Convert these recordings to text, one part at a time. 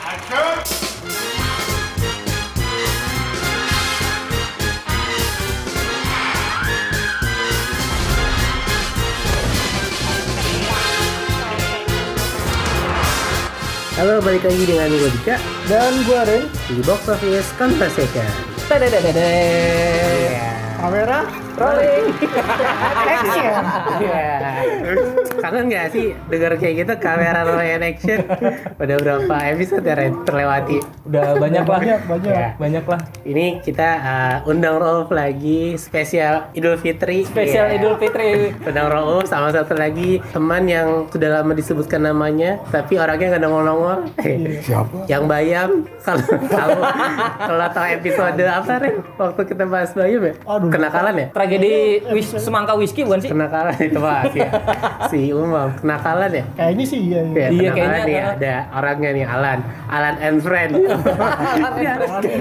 Action! Halo, balik lagi dengan gue Dika Dan gue Ren di Box Office Conversation. Tadadadadada. Kamera ya. rolling Action Kangen nggak sih denger kayak gitu kamera Royal Action? Udah berapa episode ya Ren terlewati? udah banyak lah Banyak, banyak. Ya, banyak lah Ini kita uh, undang Rolf lagi spesial Idul Fitri. spesial Iya. Idul Fitri Undang Rolf oh, sama satu lagi teman yang sudah lama disebutkan namanya, tapi orangnya nggak nongol-nongol. Siapa? yang bayam kalau kalau kalau tahu episode apa Ren waktu kita bahas bayam ya Aduh. kenakalan ya Iya, tragedi wis semangka whisky bukan sih kenakalan itu bahas ya si Umam kenakalan ya Kayaknya sih iya iya. Ya, Iya, kenakalan kayaknya nih ada. ada orangnya nih Alan Alan and friend Iya.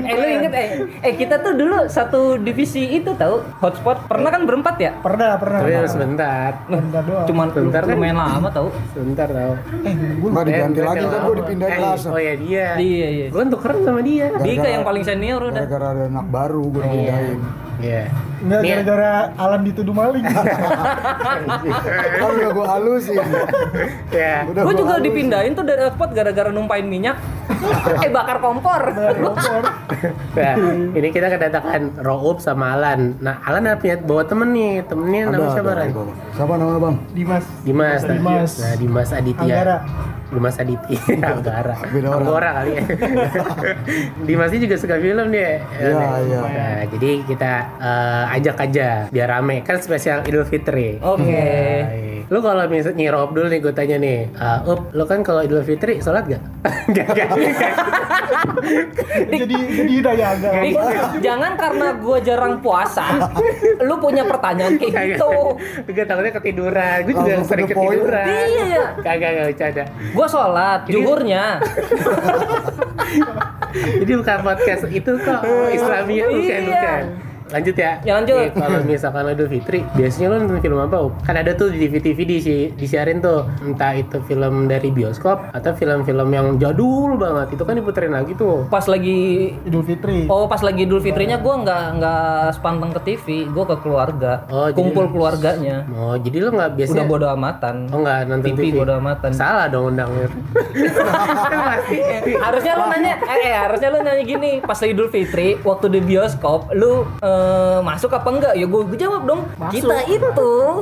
eh lu inget eh eh kita tuh dulu satu divisi itu tahu hotspot pernah kan berempat ya Nah, Pernah pernah tapi harus sebentar Bentar doang cuman Bentar kan? lumayan lama tahu sebentar tau Nggak diganti lagi kan gue Eh, dipindahin kelas. oh ya dia Iya, iya. gue tukeran sama dia Dika Gara-gara- yang paling senior udah Gara-gara ada anak baru gue Eh. dipindahin. iya Nggak Nih, gara-gara Alan dituduh maling Kan udah gue halusin. ya Udah gue gua juga halusin. dipindahin tuh dari hotspot gara-gara numpain minyak eh bakar kompor Kompor Nah, ini kita kedatangan Roop sama Alan. Nah, Alan ada punya bawa temen nih, temennya Ada, namanya siapa ada, Ran? ada. Siapa namanya bang? Dimas Dimas. nah. Dimas. Nah, Dimas Aditya. Anggara. Dimas Aditya Anggara. Beda orang. Anggora kali ya. Dimasnya juga suka film dia. Iya, Nah, iya. Nah, jadi kita eh, ajak aja biar rame kan spesial Idul Fitri. Oh, oke Baik. Lu kalau misalnya nih Rob dulu nih gue tanya nih, Eh, Up, lu kan kalau Idul Fitri sholat gak? gak, gak, Jadi jadi ya, daya agak Dik, jangan karena gue jarang puasa, lu punya pertanyaan kayak gitu. Gue takutnya ketiduran, gue juga Langsung sering ke poin. ketiduran. Iya, iya. Kagak gak bercanda. Gue Iya. sholat, juhurnya. Jadi bukan podcast itu kok Islamia bukan Iya. bukan. Lanjut ya. Ya, Nih, lanjut. kalau misalkan Idul Fitri, biasanya lu nonton film apa? Up? Kan ada tuh di TV-TV di disiarin tuh, entah itu film dari bioskop atau film-film yang jadul banget. Itu kan diputerin lagi tuh. Pas lagi Idul Fitri Oh pas lagi Idul Fitrinya gue nggak nggak sepanteng ke TV, gue ke keluarga, Oh, jadi- kumpul keluarganya, Oh, jadi lu nggak biasa udah bodo amatan. Oh nggak nonton TV. TV bodo amatan. Salah dong undangnya. Kan pasti. Harusnya lu nanya, eh, eh, harusnya lu nanya gini, pas lagi Idul Fitri, waktu di bioskop, lu eh, masuk apa enggak? Ya gue jawab dong, kita itu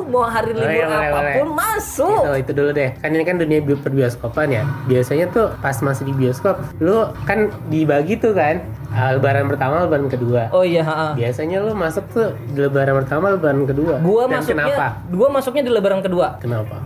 mau hari libur Boleh, boleh, apapun boleh. masuk. Gitu, itu dulu deh. Kan ini kan dunia bi- perbioskopan ya. Biasanya tuh pas masih di bioskop, lu kan dibagi tuh kan. ah, lebaran pertama, lebaran kedua. Oh iya, ha-ha. Biasanya lu masuk tuh di lebaran pertama, lebaran kedua. Gua Dan masuknya, kenapa? gua masuknya di Lebaran kedua. Kenapa?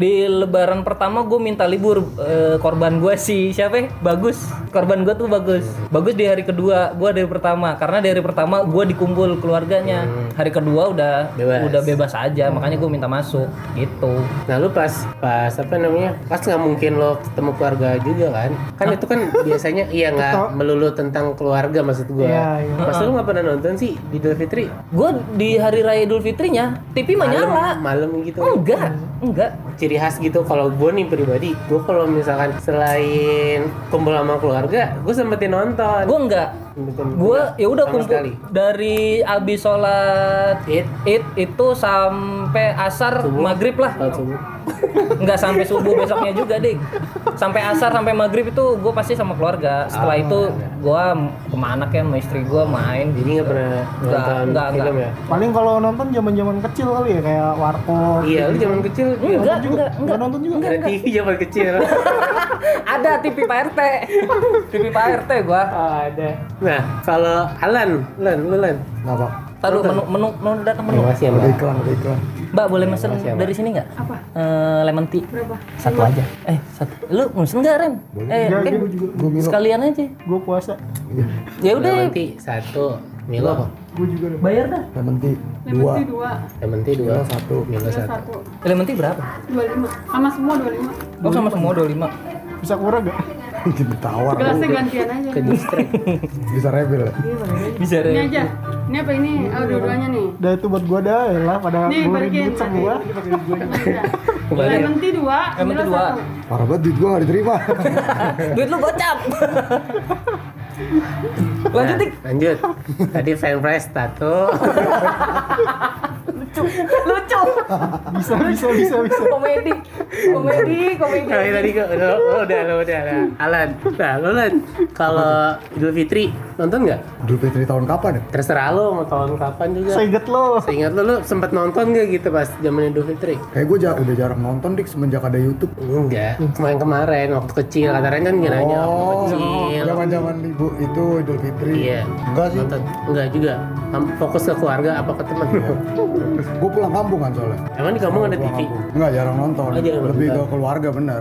Di Lebaran pertama gue minta libur eh, korban gue si siapa? ya? Bagus. Korban gue tuh bagus. Bagus di hari kedua, gue dari pertama. Karena dari pertama gue dikumpul keluarganya. Hari kedua udah Hmm. Bebas. Hmm. udah bebas aja, makanya gue minta masuk gitu. Nah lu pas pas apa namanya? Pas nggak mungkin lo ketemu keluarga juga kan? Kan itu kan biasanya iya nggak melulu tentang keluarga maksud gua. Iya, iya. Pas lu nggak pernah nonton sih di Idul Fitri? Gue di hari raya Idul Fitrinya TV menyala. malam gitu. Enggak, enggak. ciri khas gitu kalau gue nih pribadi gue kalau misalkan selain kumpul sama keluarga gue sempetin nonton Gue enggak. Sempetin- Gue ya udah sama kumpul sekali. dari abis sholat Id. Id itu sampai asar Subuh. maghrib lah. Sholat subuh. nggak sampai subuh besoknya juga ding sampai asar sampai maghrib itu gue pasti sama keluarga setelah Ah, itu iya, gue sama anak ya sama istri gue main jadi nggak pernah Nggak, nonton nggak, film ya Paling kalau nonton zaman-zaman kecil kali ya Kayak warkop iya lu zaman kecil enggak juga. enggak Nggak enggak nonton juga ada TV zaman kecil ada TV Pak RT TV Pak RT gue oh, ada nah kalau Alan Lan lu Lan Kenapa? tahu menu menu menu datang Iya, menu makasih ya Ada iklan, ada iklan. Mbak boleh mesen dari sini nggak? Apa? lemon tea. Berapa? Satu aja. Eh, satu. Lu mesen nggak Rem? Eh, Nggak, gue kan Iya, juga- Gue minum. sekalian aja. Gue puasa Ya udah, nanti satu Milo apa? Gue juga ada bayar dah. Lemon tea dua. Lemon tea dua Milo satu. Milo satu Lemon tea berapa? 25 sama semua 25 Oh, sama semua 25. Bisa kurang gak? Jadi tawar. gelasnya gantian aja ke distrik Bisa rebel ya? Bisa ini Rem. aja Ini apa ini? Oh, dua-duanya nih. Udah itu buat gua dah, ya lah pada Nih, ngeluarin balikin. duit semua. Kembali. Lemon tea dua, Lemon tea Milo dua. satu. Parah banget duit gua gak diterima. Duit lu gocap. Lanjut dik. Nah, lanjut tadi fan price satu Lucu. Bisa, bisa, bisa, bisa. Komedi. Komedi, komedi. Kali tadi kok udah oh, udah udah, udah udah. Alan, nah lo Lan, kalau Idul Fitri nonton nggak? Idul Fitri tahun kapan ya? Terserah lo mau tahun kapan juga. Seinget lo. Seingat lo lo sempat nonton nggak gitu pas zaman Idul Fitri? Kayak gua ja- udah jarang nonton dik semenjak ada YouTube. Enggak, Hmm. kemarin kemarin waktu kecil katakan kan gak nanya waktu kecil. Oh, zaman-zaman ibu itu Idul Fitri. Iya. Enggak sih. Nonton. Enggak juga. Am- Fokus ke keluarga apa ke teman? Gua pulang kampung kan soalnya. Emang di kampung ada Pulang TV? kampung. Enggak jarang nonton. Oh, jarang Lebih ke nonton. Oh. keluarga bener.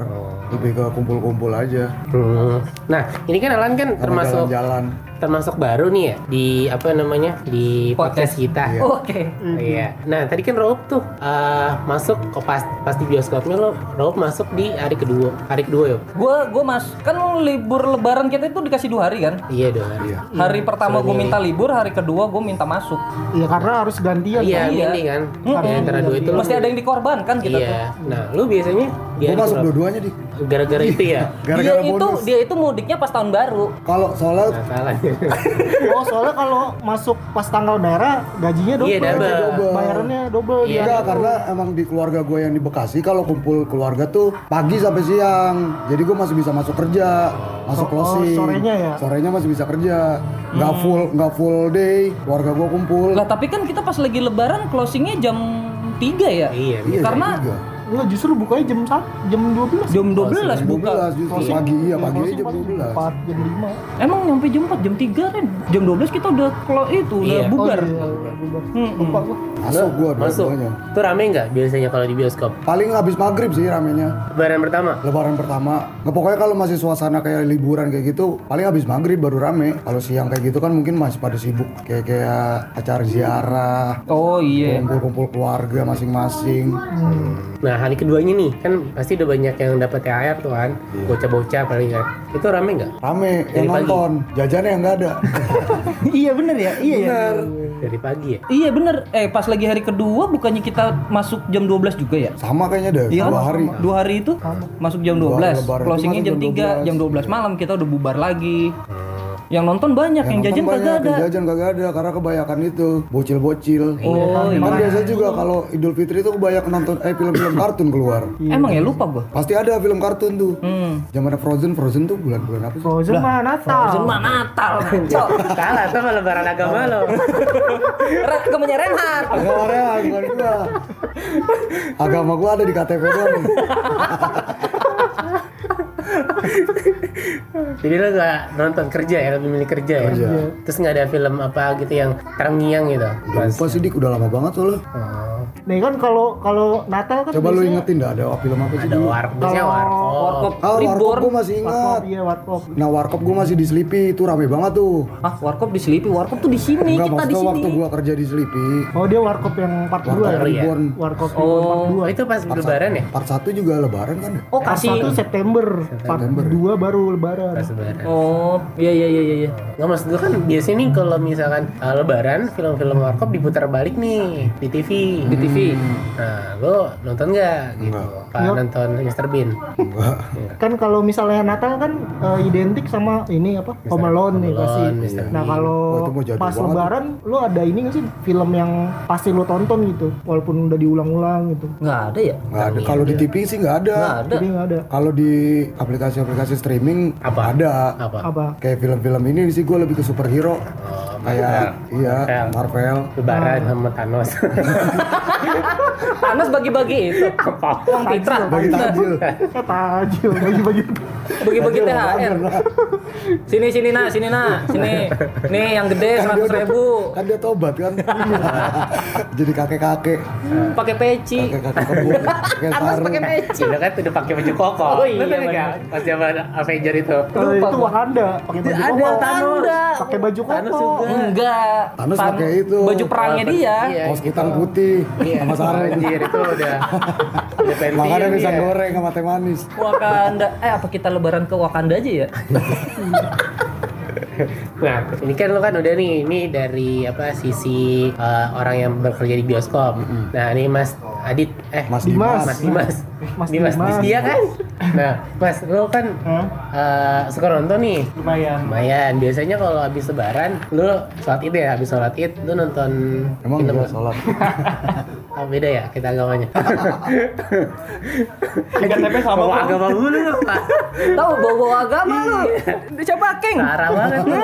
Lebih ke kumpul-kumpul aja. Hmm. Nah, ini kan Alan kan Sama termasuk jalan-jalan. termasuk baru nih ya di apa namanya di podcast, Podcast. kita. Iya. Oh, Oke. Iya. Nah tadi kan Rob tuh eh, masuk kok pas pasti bioskopnya lo Rob masuk di hari kedua hari kedua ya. Gua gua mas kan libur lebaran kita itu dikasih dua hari kan? Iya dong. Iya. Hari pertama gue minta libur, hari kedua gue minta masuk. Ya karena harus gantian. Iya, Iya. ini kan. Mm-mm. Di antara dua itu lo- Mesti ada yang dikorbankan kita tuh. Iya. Nah, lu biasanya di Gua hari masuk berapa? dua-duanya dik. gara-gara itu ya. Gara-gara dia itu bonus. dia itu mudiknya pas tahun baru. Kalau soalnya Nah, salah. Oh soalnya kalau masuk pas tanggal merah gajinya double. Iya, double. Double. Bayarannya double. Iya. dia. Enggak, karena emang di keluarga gue yang di Bekasi kalau kumpul keluarga tuh pagi sampai siang. Jadi gue masih bisa masuk kerja, Oh, masuk closing. sorenya ya? Hmm. Sorenya masih bisa kerja. Nggak full, nggak full day. Keluarga gue kumpul. Lah tapi kan kita pas lagi lebaran closingnya jam 3 ya? iya. Iya, karena- juga. Enggak justru bukanya jam 1, jam 12. Jam 12 buka. 12 justru pagi, Ya, iya pagi kalau aja sih jam pasti 12. empat, jam 5. Emang nyampe jam 4, jam 3 kan. Jam 12 kita udah kalau itu udah Iya. Oh, bubar. Lupa gua. Masuk gue Masuk. dua-duanya. Tuh rame nggak biasanya kalau di bioskop? Paling habis maghrib sih ramenya. Lebaran pertama. Lebaran pertama, nggak pokoknya kalau masih suasana kayak liburan kayak gitu, paling habis maghrib baru rame. Kalau siang kayak gitu kan mungkin masih pada sibuk kayak kayak acara ziarah, Oh iya. kumpul-kumpul keluarga masing-masing. Nah hari keduanya nih kan pasti udah banyak yang dapat THR tuh kan, bocah-bocah paling kan. Itu rame nggak? Rame pagi. yang nonton, jajannya yang nggak ada. iya bener ya? Iya ya. Dari pagi ya. Iya bener. Eh pas lagi hari kedua bukannya kita masuk jam 12 juga ya? Sama kayaknya deh, Iya kan? dua hari. Dua hari itu masuk jam Dua hari 12, lebaran itu closingnya masuk jam jam 3, jam 12 malam kita udah bubar lagi. Yang nonton banyak, yang, nonton jajan kagak banyak, ada. Yang jajan kagak ada karena kebanyakan itu bocil-bocil. Oh, kan biasa juga kalau Idul Fitri itu kebanyakan nonton eh film-film kartun keluar. Emang ya lupa gua. Pasti ada film kartun tuh. Hmm. Zaman Frozen, Frozen tuh bulan-bulan apa sih? Frozen mah Natal. Cuma Natal. Cok, Salah tuh kalau lebaran agama lo. Re- temennya Renhard. Agama Rea, bukan gua. Agama gua ada di KTP doang. nih. Jadi lo nggak nonton kerja ya, lebih milih kerja ya. Kerja. Terus nggak ada film apa gitu yang terngiang gitu. Pas. Lupa sih Dik, udah lama banget soalnya. Oh, Nih kan kalau kalau Natal kan Coba lu biasanya- ingetin dah ada film apa sih? ada dulu? war, Oh, biasanya warkop. Warkop Ah, Warkop Reborn. gua masih Warkop, ingat. iya warkop. Nah Warkop gue masih di Sleepy itu rame banget tuh. Ah, Warkop di Sleepy. Warkop tuh di sini, Enggak kita di maksudnya sini. waktu gue kerja di Sleepy. Oh dia warkop yang part 2 Warkop ya? iya. Reborn. Warkop Oh, Oh, itu pas lebaran ya? Part 1 juga lebaran kan ya? Oh, part kasih 1 September, part 2 baru lebaran. Pas lebaran. Oh, iya iya iya iya, iya. Nggak maksud gue kan biasanya nih kalau misalkan uh, lebaran film-film warkop diputar balik nih di TV. Di TV. Nah, lo nonton nggak gitu? Pak Nggak. nonton Mr. Bean. Enggak. Kan kalau misalnya Natal kan eh, identik sama ini apa? Home Alone nih Home pasti. Alone, Mr. Nah, Bean. kalau Wah, itu mau jadul pas banget. lebaran lu ada ini nggak sih film yang pasti lu tonton gitu walaupun udah diulang-ulang gitu. Nggak ada ya? Enggak ada. Kalau di TV sih enggak ada. Nggak ada. Jadi nggak ada Kalau di aplikasi-aplikasi streaming Apa? ada. Apa? apa? Kayak film-film ini sih gue lebih ke superhero. Oh, Kayak iya Marvel. Marvel. Ah. Lebaran sama Thanos. Panas bagi-bagi itu. Uang fitrah. Bagi takjil. Eh tajil bagi-bagi. Bagi-bagi THR. Sini sini nak, sini nak, sini. Nih yang gede Kan dia seratus udah- ribu. Kan dia tobat kan. Jadi kakek-kakek, Pakai peci. kakek-kakek kebun, kakek sarung. peci. Udah kan udah pakai baju koko. Oh, iya, Lo Oh, tau nggak? benar. Pas zaman Avenger itu. Kalau Lupa itu gua. Wakanda pakai baju Ada koko. tanda. Pakai baju Thanos koko. juga. Enggak. Thanos Tan- pakai itu. Baju perangnya dia. Iya, Kaos hitam putih sama sarung. Anjir iya. itu udah. udah pensiun Makanya dia. bisa goreng sama teh manis. Wakanda. Eh apa kita lebaran ke Wakanda aja ya? nah ini kan lo kan udah nih ini dari apa sisi eh, orang yang bekerja di bioskop nah ini mas Adit eh Mas Dimas. Mas Dimas Mas Dimas, Dimas. Iya kan nah Mas lo kan Hah? eh, suka nonton nih Lumayan. lumayan biasanya kalau habis lebaran lo sholat id ya habis sholat id lo nonton Emang film gua sholat. Oh, beda ya kita agamanya KTP sama bawa agama dulu lo pak Tahu bawa agama lu. Iya. Coba king. parah banget lo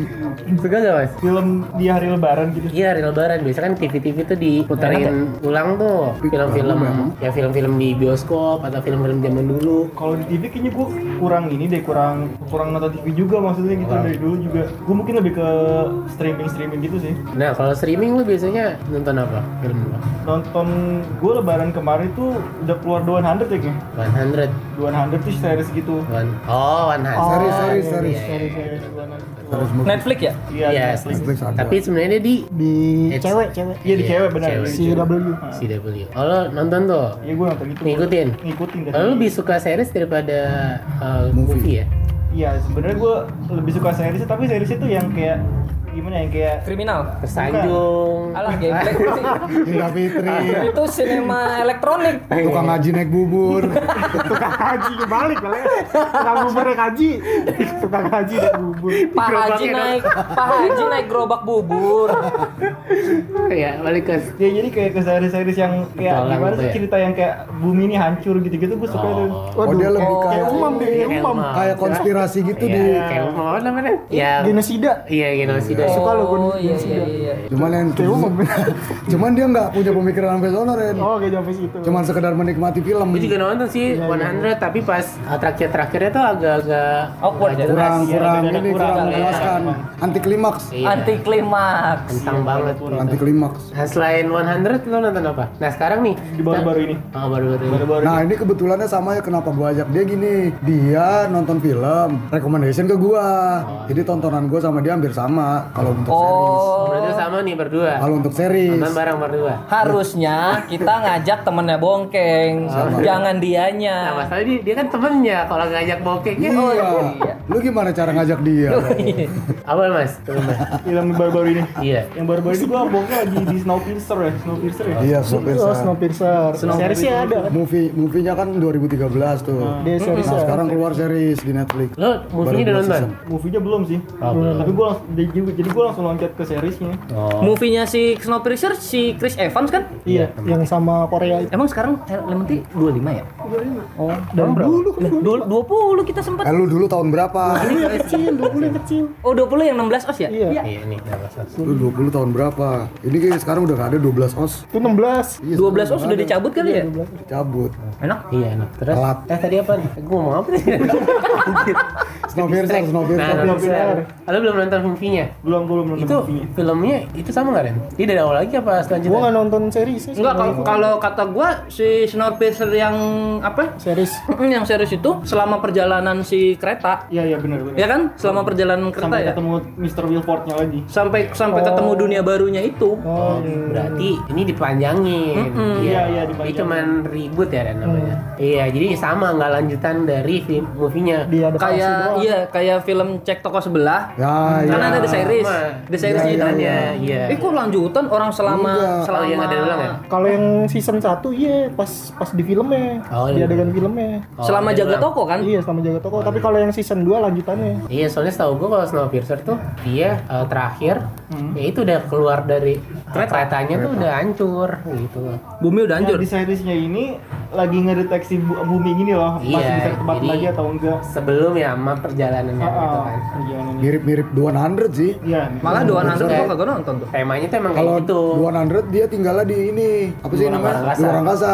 suka gak mas film di hari lebaran gitu. Iya, hari lebaran. Biasanya kan TV-TV tuh diputarin ulang tuh film-film ya film-film di bioskop atau film-film zaman dulu. Kalau di TV kayaknya gue kurang ini deh, kurang kurang nonton TV juga maksudnya gitu dari dulu juga. Gue mungkin lebih ke streaming streaming gitu sih. Nah, kalau streaming lu biasanya nonton apa? Film apa? Nonton gue lebaran kemarin tuh udah keluar 100 ya 100. kayaknya. 100 tuh series gitu. iya, One. Oh, 100. Sorry, sorry, sorry. Series-series 100. Harus mau Netflix ya? Iya, Yes. Netflix. Netflix ada. Tapi sebenarnya dia di Di It's- cewek, cewek. Iya, di Iya, cewek benar. cewek. Di CW. CW. Oh, lo nonton tuh. Iya, gue nonton gitu. Ngikutin. Ngikutin dari Lo lebih suka series daripada uh, movie. Movie. ya? Iya, sebenarnya gue lebih suka series tapi series itu yang kayak gimana ya, yang kayak Kriminal. Tersanjung. Alah gameplay sih. Dinda Fitri, Itu sinema elektronik. tukang ngaji naik bubur. tukang haji kebalik balik tukang bubur naik haji tukang haji naik bubur Pak Haji naik, Pak Haji naik gerobak bubur. ya, balik ke ya jadi kayak ke series-series yang kayak Dalang gimana gitu sih ya? cerita yang kayak bumi ini hancur gitu-gitu gue suka tuh Oh, dia lebih oh, kayak kayak umam deh iya, kayak umam Elma. kayak konspirasi gitu Ah, Iya, di kayak apa namanya? Ya. genosida Iya, genosida. Oh, Suka lu, gua nonton iya iya sendiri. iya. cuman yang cuman dia nggak punya pemikiran sampai sono Ren oh kayak sampai situ cuman sekedar menikmati film Gue juga nonton Iya, sih 100 tapi pas uh, terakhir-terakhirnya tuh agak-agak Awkward ya? agak jelas. kurang Iya, kurang ada- ada ini kurang, kurang ada- menjelaskan anti klimaks Iya. Anti klimaks. Kentang banget. anti klimaks Nah, selain 100 lo nonton apa? Nah, sekarang nih. di baru-baru ini Oh, baru-baru. ini. baru-baru ini Nah ini kebetulannya sama ya kenapa gua ajak dia gini Dia nonton film, recommendation ke gua Jadi tontonan gua sama dia hampir sama Kalau untuk series Oh, Oh, berarti sama nih berdua. Kalau untuk series Nonton bareng berdua. harusnya kita ngajak temennya bongkeng, jangan Nah, dianya. masalahnya dia, dia kan temennya kalau ngajak bokeknya. Oh, Iya Lu gimana cara ngajak dia? Apa mas? Temen, Mas? film baru-baru ini Iya. yang baru-baru ini gue bokeh lagi di Snowpiercer ya Snowpiercer ya Iya pemirsa Snowpiercer seriesnya ada kan Movie, movie-nya kan 2013 tuh dia Nah series sekarang keluar series di Netflix Lo movie-nya udah dua nonton? season. movie-nya belum sih tapi gue jadi gue langsung loncat ke seriesnya Movie-nya si Snowpiercer si Chris Evans kan? iya yang sama Korea itu Emang sekarang Elementi 25 ya? 25. Oh, dari dulu Iya. kan. Dulu 20 kita sempet. Eh lu dulu tahun berapa? yang kecil dua yang kecil Oh, 20 yang 16 OS ya? iya Iya nih, nggak masalah. Lu 20 tahun berapa? Ini kayak sekarang udah gak ada 12 os itu 16 12 Iya, sekarang OS sudah nggak ada. dicabut kali Iya. ya? Cabut Enak. Iya, enak. Terus, Telat. eh tadi apa nih? Gue ngomong apa sih? Snowpiercer, Snowpiercer Nah, Snowpiercer. Lo belum nonton movie-nya? belum belum belum itu filmnya itu sama nggak Ren? Ini dari awal lagi apa gue selanjutnya? nggak nonton series ya. sih Enggak kalau kalau kata gua si Snowpiercer yang apa? series yang serius itu selama perjalanan si kereta, iya iya benar benar ya kan? Selama perjalanan kereta sampai ya. ketemu Mr. Wilfordnya lagi Sampai sampai Oh. ketemu dunia barunya itu. oh Berarti ini dipanjangin. Iya, iya, Ini dipanjangin. cuman ribut ya Ren namanya. Iya, jadi sama nggak lanjutan dari film movie-nya. dia ada kayak iya kayak film cek toko sebelah. Ya, Nah. iya. Karena ada the series. Sama. The series Iya, itu. iya, iya. Eh kok lanjutan orang selama Enggak. Oh, selama yang ada ulang ya? kalau yang season 1 iya pas pas di filmnya Oh, di iya. adegan filmnya Oh, selama ada jaga ulang. toko kan? iya sama jaga toko tapi kalau yang season 2 lanjutannya Iya, soalnya setahu gua kalau Snowpiercer tuh dia eh, terakhir ya itu udah keluar dari eh, keretanya tuh udah hancur gitu. Bumi udah Nah, Iya. hancur. di seriesnya ini lagi ngedeteksi bu- bumi gini loh masih Iya, bisa ketebak jadi- lagi atau enggak Sebelum ya sama perjalanannya Ah, gitu ah, kan. perjalanan ini. Mirip-mirip 100 sih iya Malah doan nanti gua kagak nonton tuh. Temanya tuh emang Kalau kayak Hmm, gitu. 100 dia tinggalnya di ini apa sih Luar namanya? angkasa. Luar angkasa.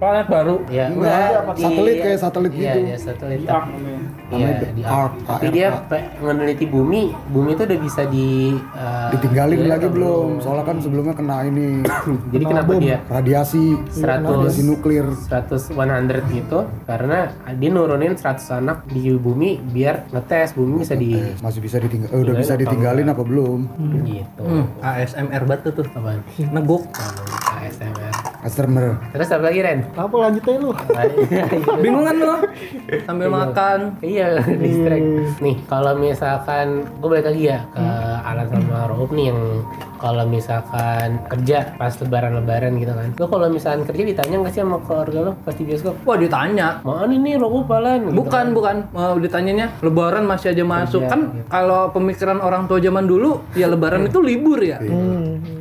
Planet baru. Ya, Enggak, Hmm, di- satelit kayak satelit iya, gitu. Iya, satelit. Di Ark namanya. Iya, Namanya di The Ark. Ark, Tapi ARK. dia pe- meneliti bumi, bumi itu udah bisa di eh, Ditinggalin iya, lagi belum? Soalnya kan sebelumnya kena ini Jadi kenapa dia radiasi 100 radiasi nuklir. 100 100 gitu karena dia nurunin 100 anak di bumi biar ngetes bumi bisa di Masih bisa ditinggal eh, udah Iya, bisa ditinggalin apa belum? gitu. Hmm. Hmm, ASMR batu tuh. Iya. Apaan? Neguk. ASMR. customer Terus apa lagi Ren? Apa lanjut aja lu? Bingung kan lo? Sambil makan. Iya, Hmm. distract. Nih, kalau misalkan gue balik lagi ya ke Hmm. Alan sama Rob nih yang kalau misalkan kerja pas lebaran-lebaran gitu kan. Lo kalau misalkan kerja ditanya nggak sih sama keluarga lo pasti bioskop? Wah ditanya. Mana nih Rob Alan? Gitu Bukan, bukan. Mau ditanyanya lebaran masih aja masuk. Kan kalau pemikiran orang tua zaman dulu, ya lebaran itu libur ya.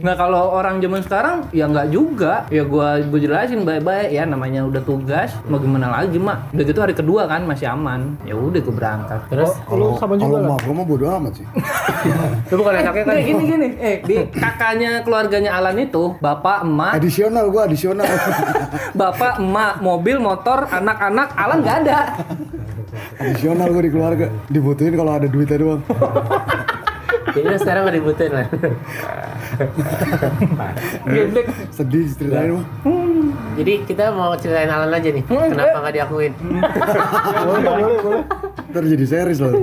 Nah kalau orang zaman sekarang, ya nggak juga. Ya gua gua jelasin baik-baik ya namanya udah tugas, mau gimana lagi, Mak. Udah gitu hari kedua kan masih aman. Ya udah gua berangkat. Terus Oh, Lu sama juga kalau lah. gitu. mah gue mah bodo amat sih lu bukan anaknya kan? Nih, gini gini, eh di kakaknya keluarganya Alan itu, bapak, emak, adisional gue adisional bapak, emak, mobil, motor, anak-anak, Alan nggak ada. adisional gue di keluarga dibutuhin kalau ada duitnya doang Jadi lo sekarang nggak dibutuhin lah. Gedek. sedih ceritain mah Jadi kita mau ceritain Alan aja nih. Kenapa nggak diakuin? boleh, boleh, boleh. ntar jadi series loh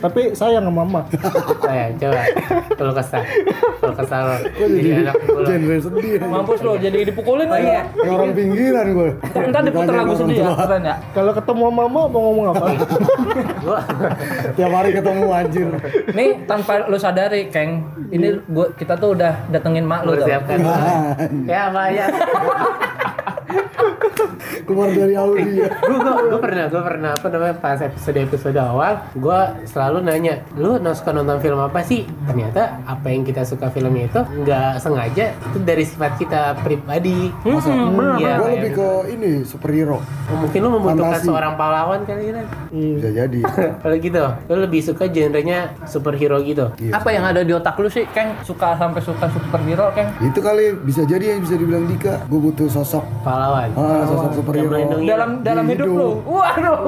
Tapi sayang sama mama. Saya Oh ya, coba. Kalau kesal, kalau kesal lo. gue Jadi jadi anak lo. genre sedih ya. Mampus lo jadi dipukulin oh, iya. kayak orang pinggiran gue Entar diputer lagu sedih ya, keren ya. Kalau ketemu sama mama mau ngomong apa? tiap hari ketemu anjir Nih tanpa lo sadari, Keng, ini gua kita tuh udah datengin mak lo tau. Persiapkan. Nah, Ya apa ya? keluar dari Audi ya gue gue pernah gue pernah apa namanya pas episode episode awal gue selalu nanya lu no- suka nonton film apa sih ternyata apa yang kita suka filmnya itu nggak sengaja itu dari sifat kita pribadi masa iya gue kayak lebih gitu. ke ini superhero Oh, mungkin lu membutuhkan fantasi. seorang pahlawan kali ini bisa jadi kalau gitu lu lebih suka genrenya superhero gitu Iya. Apa yang ada di otak lu sih, Keng? Suka sampai suka superhero, Keng? itu kali bisa jadi yang bisa dibilang Dika gue butuh sosok pahlawan ah, sosok superhero melindungi. Dalam dalam hidup Hidup. lu. Waduh.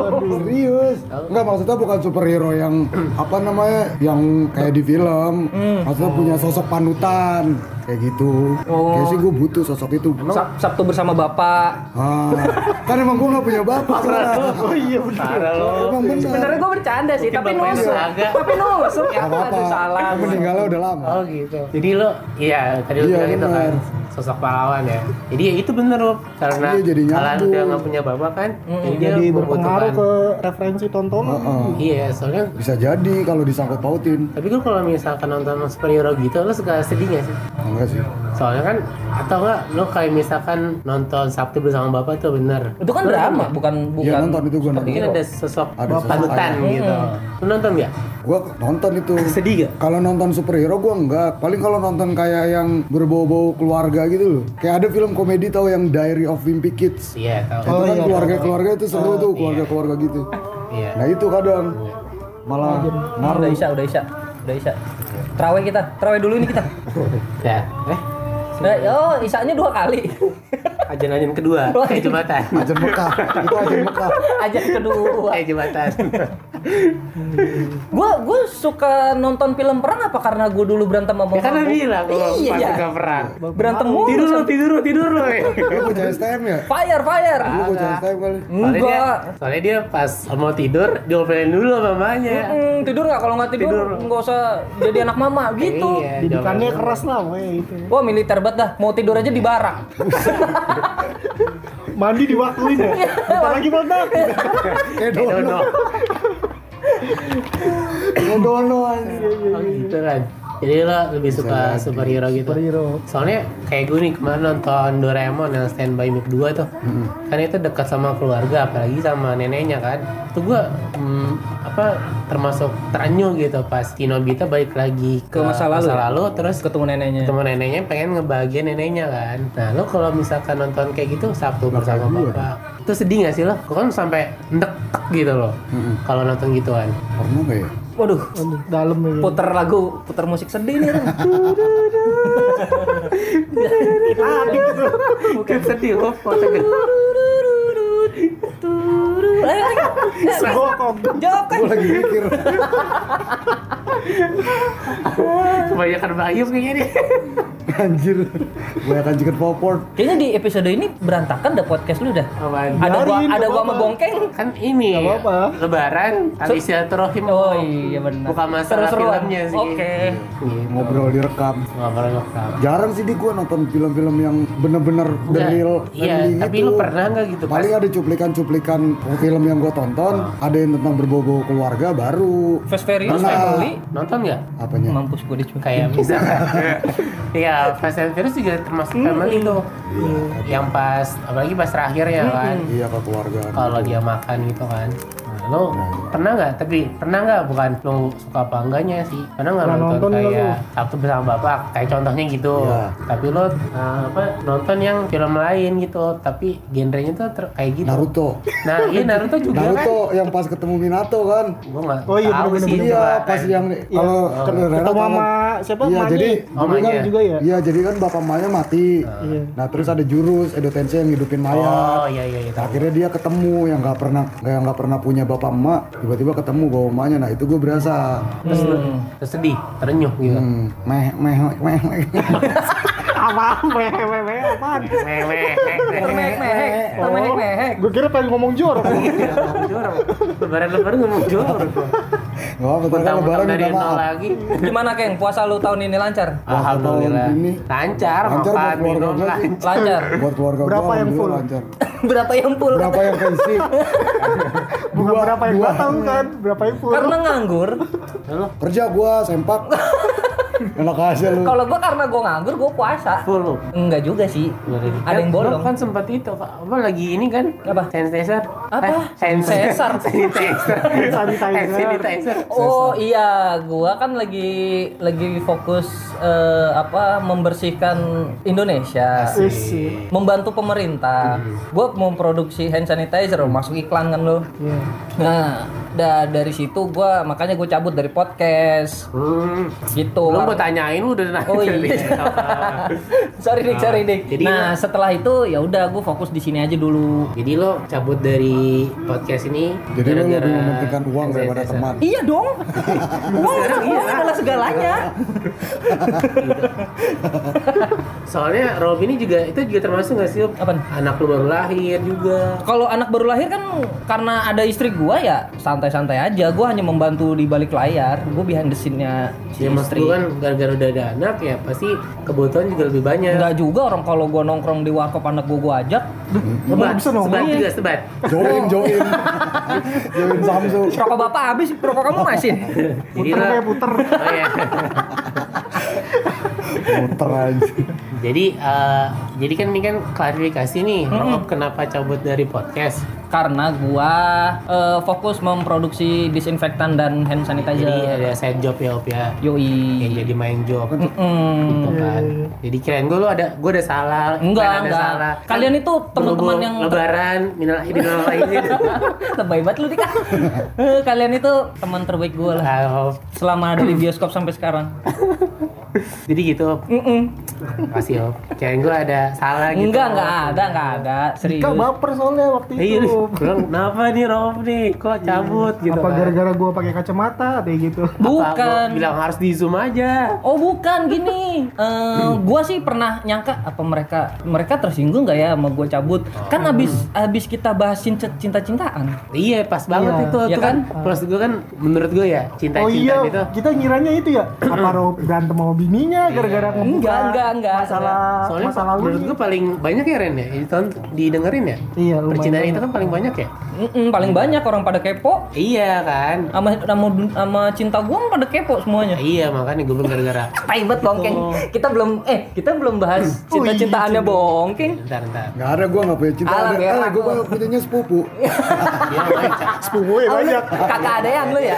serius nggak maksudnya bukan superhero yang apa namanya yang kayak di film Hmm. maksudnya punya sosok panutan kayak gitu Oh. kayak sih gue butuh sosok itu Sab- Sabtu bersama Bapak. ah, kan emang gue nggak punya bapak sekarang. oh iya benar. Parah lo emang bener Sebenarnya gue bercanda sih, tapi bapaknya nusuk. agak. Tapi nusuk ya, Gak apa-apa, aduh salah. Kan meninggalnya udah lama Oh gitu. Jadi lo, iya tadi lo Iya, bilang itu kan benar. sosok pahlawan ya. Jadi ya itu bener Rob. karena Iya, jadi Alan nyambung. udah nggak punya bapak kan, dia Jadi berpengaruh membutuhkan. ke referensi tontonan. Heeh. Iya soalnya. Bisa jadi kalau disangkut pautin Tapi lo kalau misalkan nonton superhero gitu, lo suka sedih nggak sih? Enggak sih Iya, Soalnya kan, atau nggak lo kayak misalkan nonton Sabtu bersama bapak tuh bener. Itu kan drama, bukan Iya bukan. Iya. nonton itu gue nonton Mungkin ada sosok Ada sosok panutan ayah. gitu. Lo nonton nggak? Gue nonton itu Sedih nggak? Kalau nonton superhero gue enggak Paling kalau nonton kayak yang berbau-bau keluarga gitu loh Kayak ada film komedi tau yang Diary of Wimpy Kids Iya tahu. Itu kan keluarga-keluarga itu seru tuh keluarga-keluarga gitu Iya. Nah itu kadang Malah Ah, udah isya, udah isya, udah isya. Terawih kita, terawih dulu ini kita. Ya, eh, Nah, oh isaknya dua kali. ajan-ajan kedua, kayak jembatan. Ajar Mekah Itu ajar Mekah Ajak kedua. Kayak jembatan. Gue gue suka nonton film perang apa karena gue dulu berantem sama Ya kan orang. udah bilang kalau Iya. pas suka perang. Berantem mulu. Tidur lo, tidur lo, tidur lo. eh. Lu punya STM ya? Fire, fire. Ah, Lu punya STM kali Soalnya dia, Enggak. soalnya dia pas mau tidur diomelin dulu sama mamanya. Hmm, tidur nggak? Kalau nggak tidur, iya. Tidur. nggak usah jadi anak mama gitu. Iya, Didikannya diomelin. keras lah, weh itu. Wah militer banget dah, mau tidur aja di barak. Mandi diwaktuin ya. Bentar lagi meledak. Eh, Kayak dono dono. Kayak dono anjir Oh, gitu kan. Jadi lo lebih suka superhero gitu. Superhero. Soalnya kayak gue nih kemarin nonton Doraemon yang Stand By Me 2 tuh. Kan itu dekat sama keluarga apalagi sama neneknya kan. Itu gue hmm, apa termasuk terenyuh gitu pas Kinobita balik lagi ke, Ke masa lalu. ya? terus Ketemu neneknya. ketemu neneknya pengen ngebahagiain neneknya kan nah lo kalau misalkan nonton kayak gitu Sabtu bersama bapak itu sedih gak sih lo Gua kan sampai ndek tek gitu loh kalau nonton gituan Pernah gak ya? Waduh, Dalam ya. puter lagu, puter musik sedih nih. Ren. bukan sedih lo Ayo, ayo. Segokong. Jawab kan? Gue lagi mikir kebanyakan bayam kayaknya nih Anjir, kebanyakan chicken popcorn. Kayaknya di episode ini berantakan dah podcast lu dah. Apaan? Ada gua Biarin, ada gak gua sama apa-apa. Bongkeng. kan ini Gak apa-apa. lebaran tali silaturahim Oh iya benar. bukan masalah Seru-seruan. filmnya sih Oke. gitu. Ngobrol direkam. ngobrol lokal Jarang sih di gua nonton film-film yang bener-bener the Udah, real iya, family tapi lu pernah nggak gitu, Pas? Paling ada cuplikan-cuplikan film yang gua tonton, Ah. ada yang tentang berbobot keluarga baru. Fast Furious Nah. Family. nonton nggak Apanya? Mampus gua dicuri. kayak misalkan ya Fast and Furious juga termasuk family tuh yang pas apalagi pas terakhir ya kan Iya ke keluarga. kalau dia makan gitu kan nah, lo iya. pernah nggak tapi pernah nggak bukan lo suka apa enggaknya sih pernah nggak Pernah nonton, nonton nggak kayak Sabtu bersama bapak kayak contohnya gitu Iya. tapi lo nah, apa nonton yang film lain gitu tapi genrenya tuh ter- kayak gitu Naruto. nah iya Naruto juga Naruto kan yang pas ketemu Minato kan. gue nggak Oh iya, tahu bener-bener. sih itu Iya, kan. pas yang kalau kalau Renat Ketemu kalau- sama siapa? Iya, Mani. jadi Oh, Dulu kan Mani ya? juga ya. Iya. Iya, jadi kan bapak Maya mati. Nah, terus ada jurus Edo Tensei yang hidupin Maya. oh iya iya iya tahu. akhirnya dia ketemu yang nggak pernah yang nggak pernah punya bapak emak tiba-tiba ketemu bawa emaknya nah itu gue berasa terus lo Hmm. terus sedih terenyuh gitu hmm, meh meh meh meh Apaan? Meh, meh, meh, apaan? Meh, meh, meh, meh. Mehek mehek, mehek mehek. Gue kira pengen ngomong jorok. Iya, ngomong jorok. lebaran lebaran ngomong jorok nggak apa betul kan mentang-mentang lebaran dari minta nol maaf lagi Gimana Keng? Puasa lu tahun ini lancar? Wah, alhamdulillah tahun ini. lancar Lancar buat makan keluarga minum gua sih. lancar Lancar. buat keluarga Berapa gua, yang alhamdulillah full? lancar Berapa yang full? berapa yang keisi Bukan berapa yang dua. datang kan? Berapa yang full? Karena nganggur. lu kerja gua sempak enak aja lu Kalau gua karena gua nganggur gua puasa. full lu Enggak juga sih. Ada yang Kan, bolong. lu kan sempat itu Kak. apa lagi ini kan Apa? sanitizer Apa? Eh, sanitizer Sensor. sanitizer Sanitizer. Eh, sanitizer Oh iya, gua kan lagi lagi fokus eh, apa membersihkan Indonesia. Wih, sih. Membantu pemerintah. Hmm. Gua memproduksi hand sanitizer, masuk iklan kan lo. Iya. Nah, da- dari situ gua makanya gue cabut dari podcast hmm. gitu. Belum gua tanyain lu udah nanya. Oh, iya. sorry Dik, sorry Dik. Ah. Jadi- nah, setelah itu ya udah gue fokus di sini aja dulu. Jadi lo cabut dari podcast ini jadi lu gara-gara lebih mementingkan uang daripada sanitizer. teman Iya dong. Uang Iya. uang adalah segalanya. Soalnya Robin ini juga itu juga termasuk nggak sih? Rob? Apaan? Anak lu baru lahir juga. Kalau anak baru lahir kan karena ada istri gua ya santai-santai aja. Gua hanya membantu di balik layar. Gua behind the scene-nya si Ya mas istri. lu kan gara-gara udah ada anak ya pasti kebutuhan juga lebih banyak. Enggak juga orang kalau gua nongkrong di warkop anak gua gua ajak. Sebat, bisa dong. Iya. sebat juga sebat. join join join Samsung Rokok bapak habis, rokok kamu masih. Jadi Puter lo- kayak puter. Oh, iya. muter aja jadi eh, jadi kan ini kan klarifikasi nih, Rob kenapa cabut dari podcast? karena gua eh, fokus memproduksi disinfektan dan hand Jadi sanitizer. ada side job ya Op ya. Yang Yoi. jadi main job. Mm-mm. Iya, Gitu kan. Jadi kirain gue lu ada gue ada salah, Enggak, kalian ada enggak. salah. Kalian itu teman-teman berhubung yang- lebaran minal aidin wal faizin. Lebay banget lu Dika. Eh, Kalian itu teman terbaik gua lah. Wow. Selama dari bioskop sampai sekarang. Jadi gitu, Op. Mm-mm. Makasih Op. Kirain gue ada salah gitu. Enggak, enggak ada, enggak ada. Serius. Kak baper soalnya waktu Iya, itu. bilang, kenapa nih Rob nih? Kok cabut gitu Apa kan? gara-gara gue pakai kacamata kayak gitu? Bukan. Apa gua bilang harus di zoom aja. Oh bukan gini, Eh, gua sih pernah nyangka apa mereka mereka tersinggung nggak ya sama gua cabut? Kan abis abis kita bahasin ce- cinta-cintaan. Iya pas banget Iya, itu, iya itu kan. Plus gue kan menurut gue ya cinta Oh cinta iya, itu. kita ngiranya itu ya apa Rob berantem mau bininya gara-gara ngebuka Enggak, enggak, enggak. masalah Soalnya masa lalu menurut gue paling banyak ya Ren ya, Itu tahun didengerin ya. Iya, lumayan Percintaan itu kan paling banyak ya. Mm-mm, paling banyak orang pada kepo, Iya kan. sama sama, sama cinta gua pada kepo semuanya. Iya makanya gue belum gara-gara. Taibet bongkeng. Kita belum eh kita belum bahas cinta-cintaannya bongkeng. Bentar, bentar. nggak ada gua nggak punya cinta Alah, ya, ada berak eh gua lu. punyanya sepupu Iya, banyak. Eh, sepupunya Oh, lu banyak Kakak ada yang lu ya.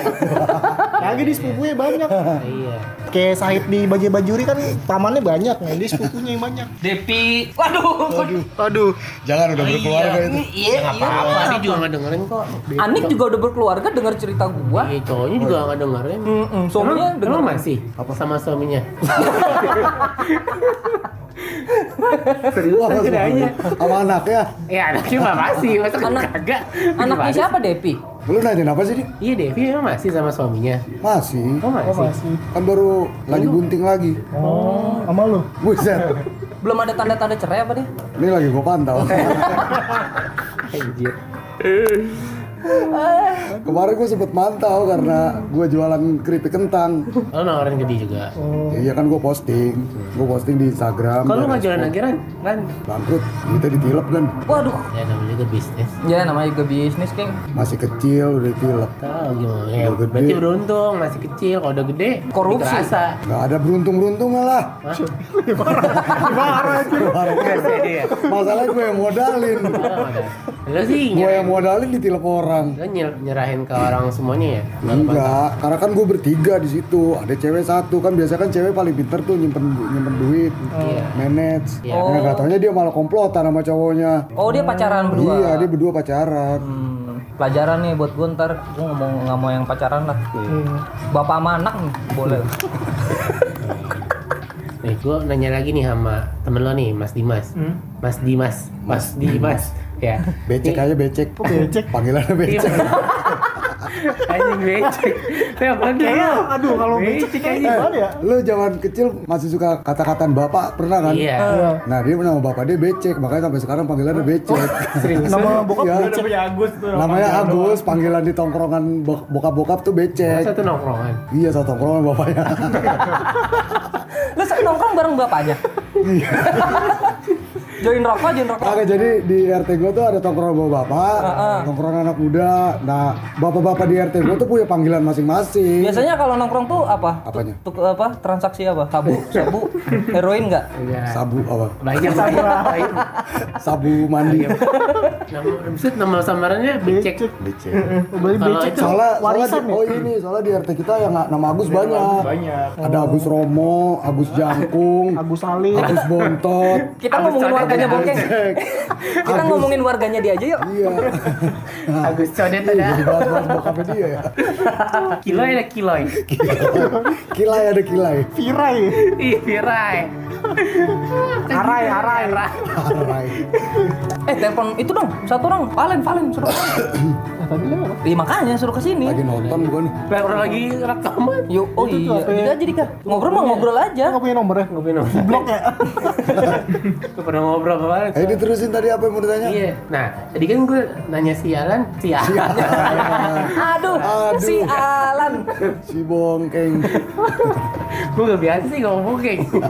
lagi di sepupunya banyak Iya. kayak Sahid di Bajai Bajuri kan pamannya banyak nah dia sepupunya yang banyak Depi. Waduh. aduh jangan udah berkeluarga itu Iya, iya. Apa dia juga nggak dengerin kok. Anik juga udah berkeluarga dengar cerita gua. Iya, cowoknya juga nggak dengerin. Hmm. Mm-mm, Emang, Suaminya emang masih sama suaminya. Serius Wah, aku nanya. sama anak ya. Ya anaknya mah masih, masa Anak- kagak. Anaknya Masih. siapa Depi? Lu nanyain apa sih, Dik? Iya Devi emang masih sama suaminya. Masih. Oh masih. Kan baru lagi gunting lagi. Oh, sama lu? Buset. Belum ada tanda-tanda cerai apa deh? Ini lagi gua pantau. Anjir. Kemarin gua sempet mantau karena gua jualan keripik kentang. Lo nawarin ke dia juga. Iya kan gua posting. Gua posting di Instagram. Kalau lu nggak Ada- jualan lagi kan, kan? bangkrut, kita ditilep kan. Waduh, Ya namanya juga bisnis. ya namanya juga bisnis, King. Masih kecil udah ditilep. Tahu gimana? Ya, Udah gede. berarti beruntung masih kecil. Kalau udah gede, Korupsi. Terasa. Gak ada beruntung-beruntungnya lah. Masalahnya gue yang modalin. Lo sih Gue nyerahin, yang modalin ditilep orang. lo nyer- nyerahin ke orang semuanya ya? Enggak, karena kan gue bertiga di situ. Ada cewek satu kan biasanya kan cewek paling pinter tuh nyimpen nyimpen duit, Iya. manage. Iya. Nah, gak taunya dia malah komplotan sama cowoknya. Oh, dia pacaran berdua. Iya, dia berdua pacaran. Hmm, pelajaran nih buat gue ntar gue ngomong nggak mau yang pacaran lah bapak sama anak nih, boleh lah Nih, gue nanya lagi nih sama temen lo nih, Mas Dimas. Hmm. Mas Dimas, Mas Dimas, ya. Becek aja becek. becek? Panggilannya becek. Iya, Anjing becek. Tapi apa Kayaknya, aduh kalau becek sih Iya, kayaknya iya. gimana ya? Eh, Lu zaman kecil masih suka kata-kataan bapak pernah kan? Iya. Nah dia nama bapak dia becek, makanya sampai sekarang panggilannya becek. Serius. Nama bokap Iya. gue namanya Agus tuh. nama Namanya dia doang. Agus, panggilan di tongkrongan bok- bokap-bokap tuh becek. Satu nongkrongan. Iya, satu tongkrongan bapaknya. lu sa- nongkrong bareng bapaknya Iya. join rokok join rokok Oke, jadi di RT gue tuh ada tongkrongan bapak-bapak, tongkrongan anak muda. Nah, bapak-bapak di RT gue tuh punya panggilan masing-masing. biasanya kalau nongkrong tuh apa Apanya? Tuk, apa transaksi apa sabu sabu heroin nggak Iya. Sabu apa? Banyak banyak. banyak. Sabu mandi. Nama, maksud nama samarannya becek. Becek. Eh, Beli Kalau becek ya? itu Soalnya, soalnya ya? di, iya. oh ini soalnya di RT kita yang nama Agus banyak. banyak. Ada Agus Romo, Agus Jangkung, Agus Ali. Agus Bontot. kita ngomongin cocok warganya dengan bokeng kita ngomongin warganya dia aja yuk Iya. Agus Codet ada. Jadi bahas-bahas bokapnya dia ya. Kiloy ada kiloy. Kilai ada kilai. Virai. Ih, Virai. Arai, arai. Arai. eh telepon itu dong satu orang valen valen suruh Iya makanya suruh kesini Lagi nonton gue nih. Lah, Orang lagi rekaman. yuk oh iya jadi ya? aja Dika ngobrol Iya. mah ngobrol aja Nggak punya nomornya? Gue minum. Blok ya? Gue pernah ngobrol sama Alex. Eh diterusin tadi apa yang mau ditanya? Iya. Nah, tadi kan gue nanya si Alan, si Alan. Aduh, Aduh. si Alan. Si bongkeng. gue gak biasa sih ngomong kayak gitu.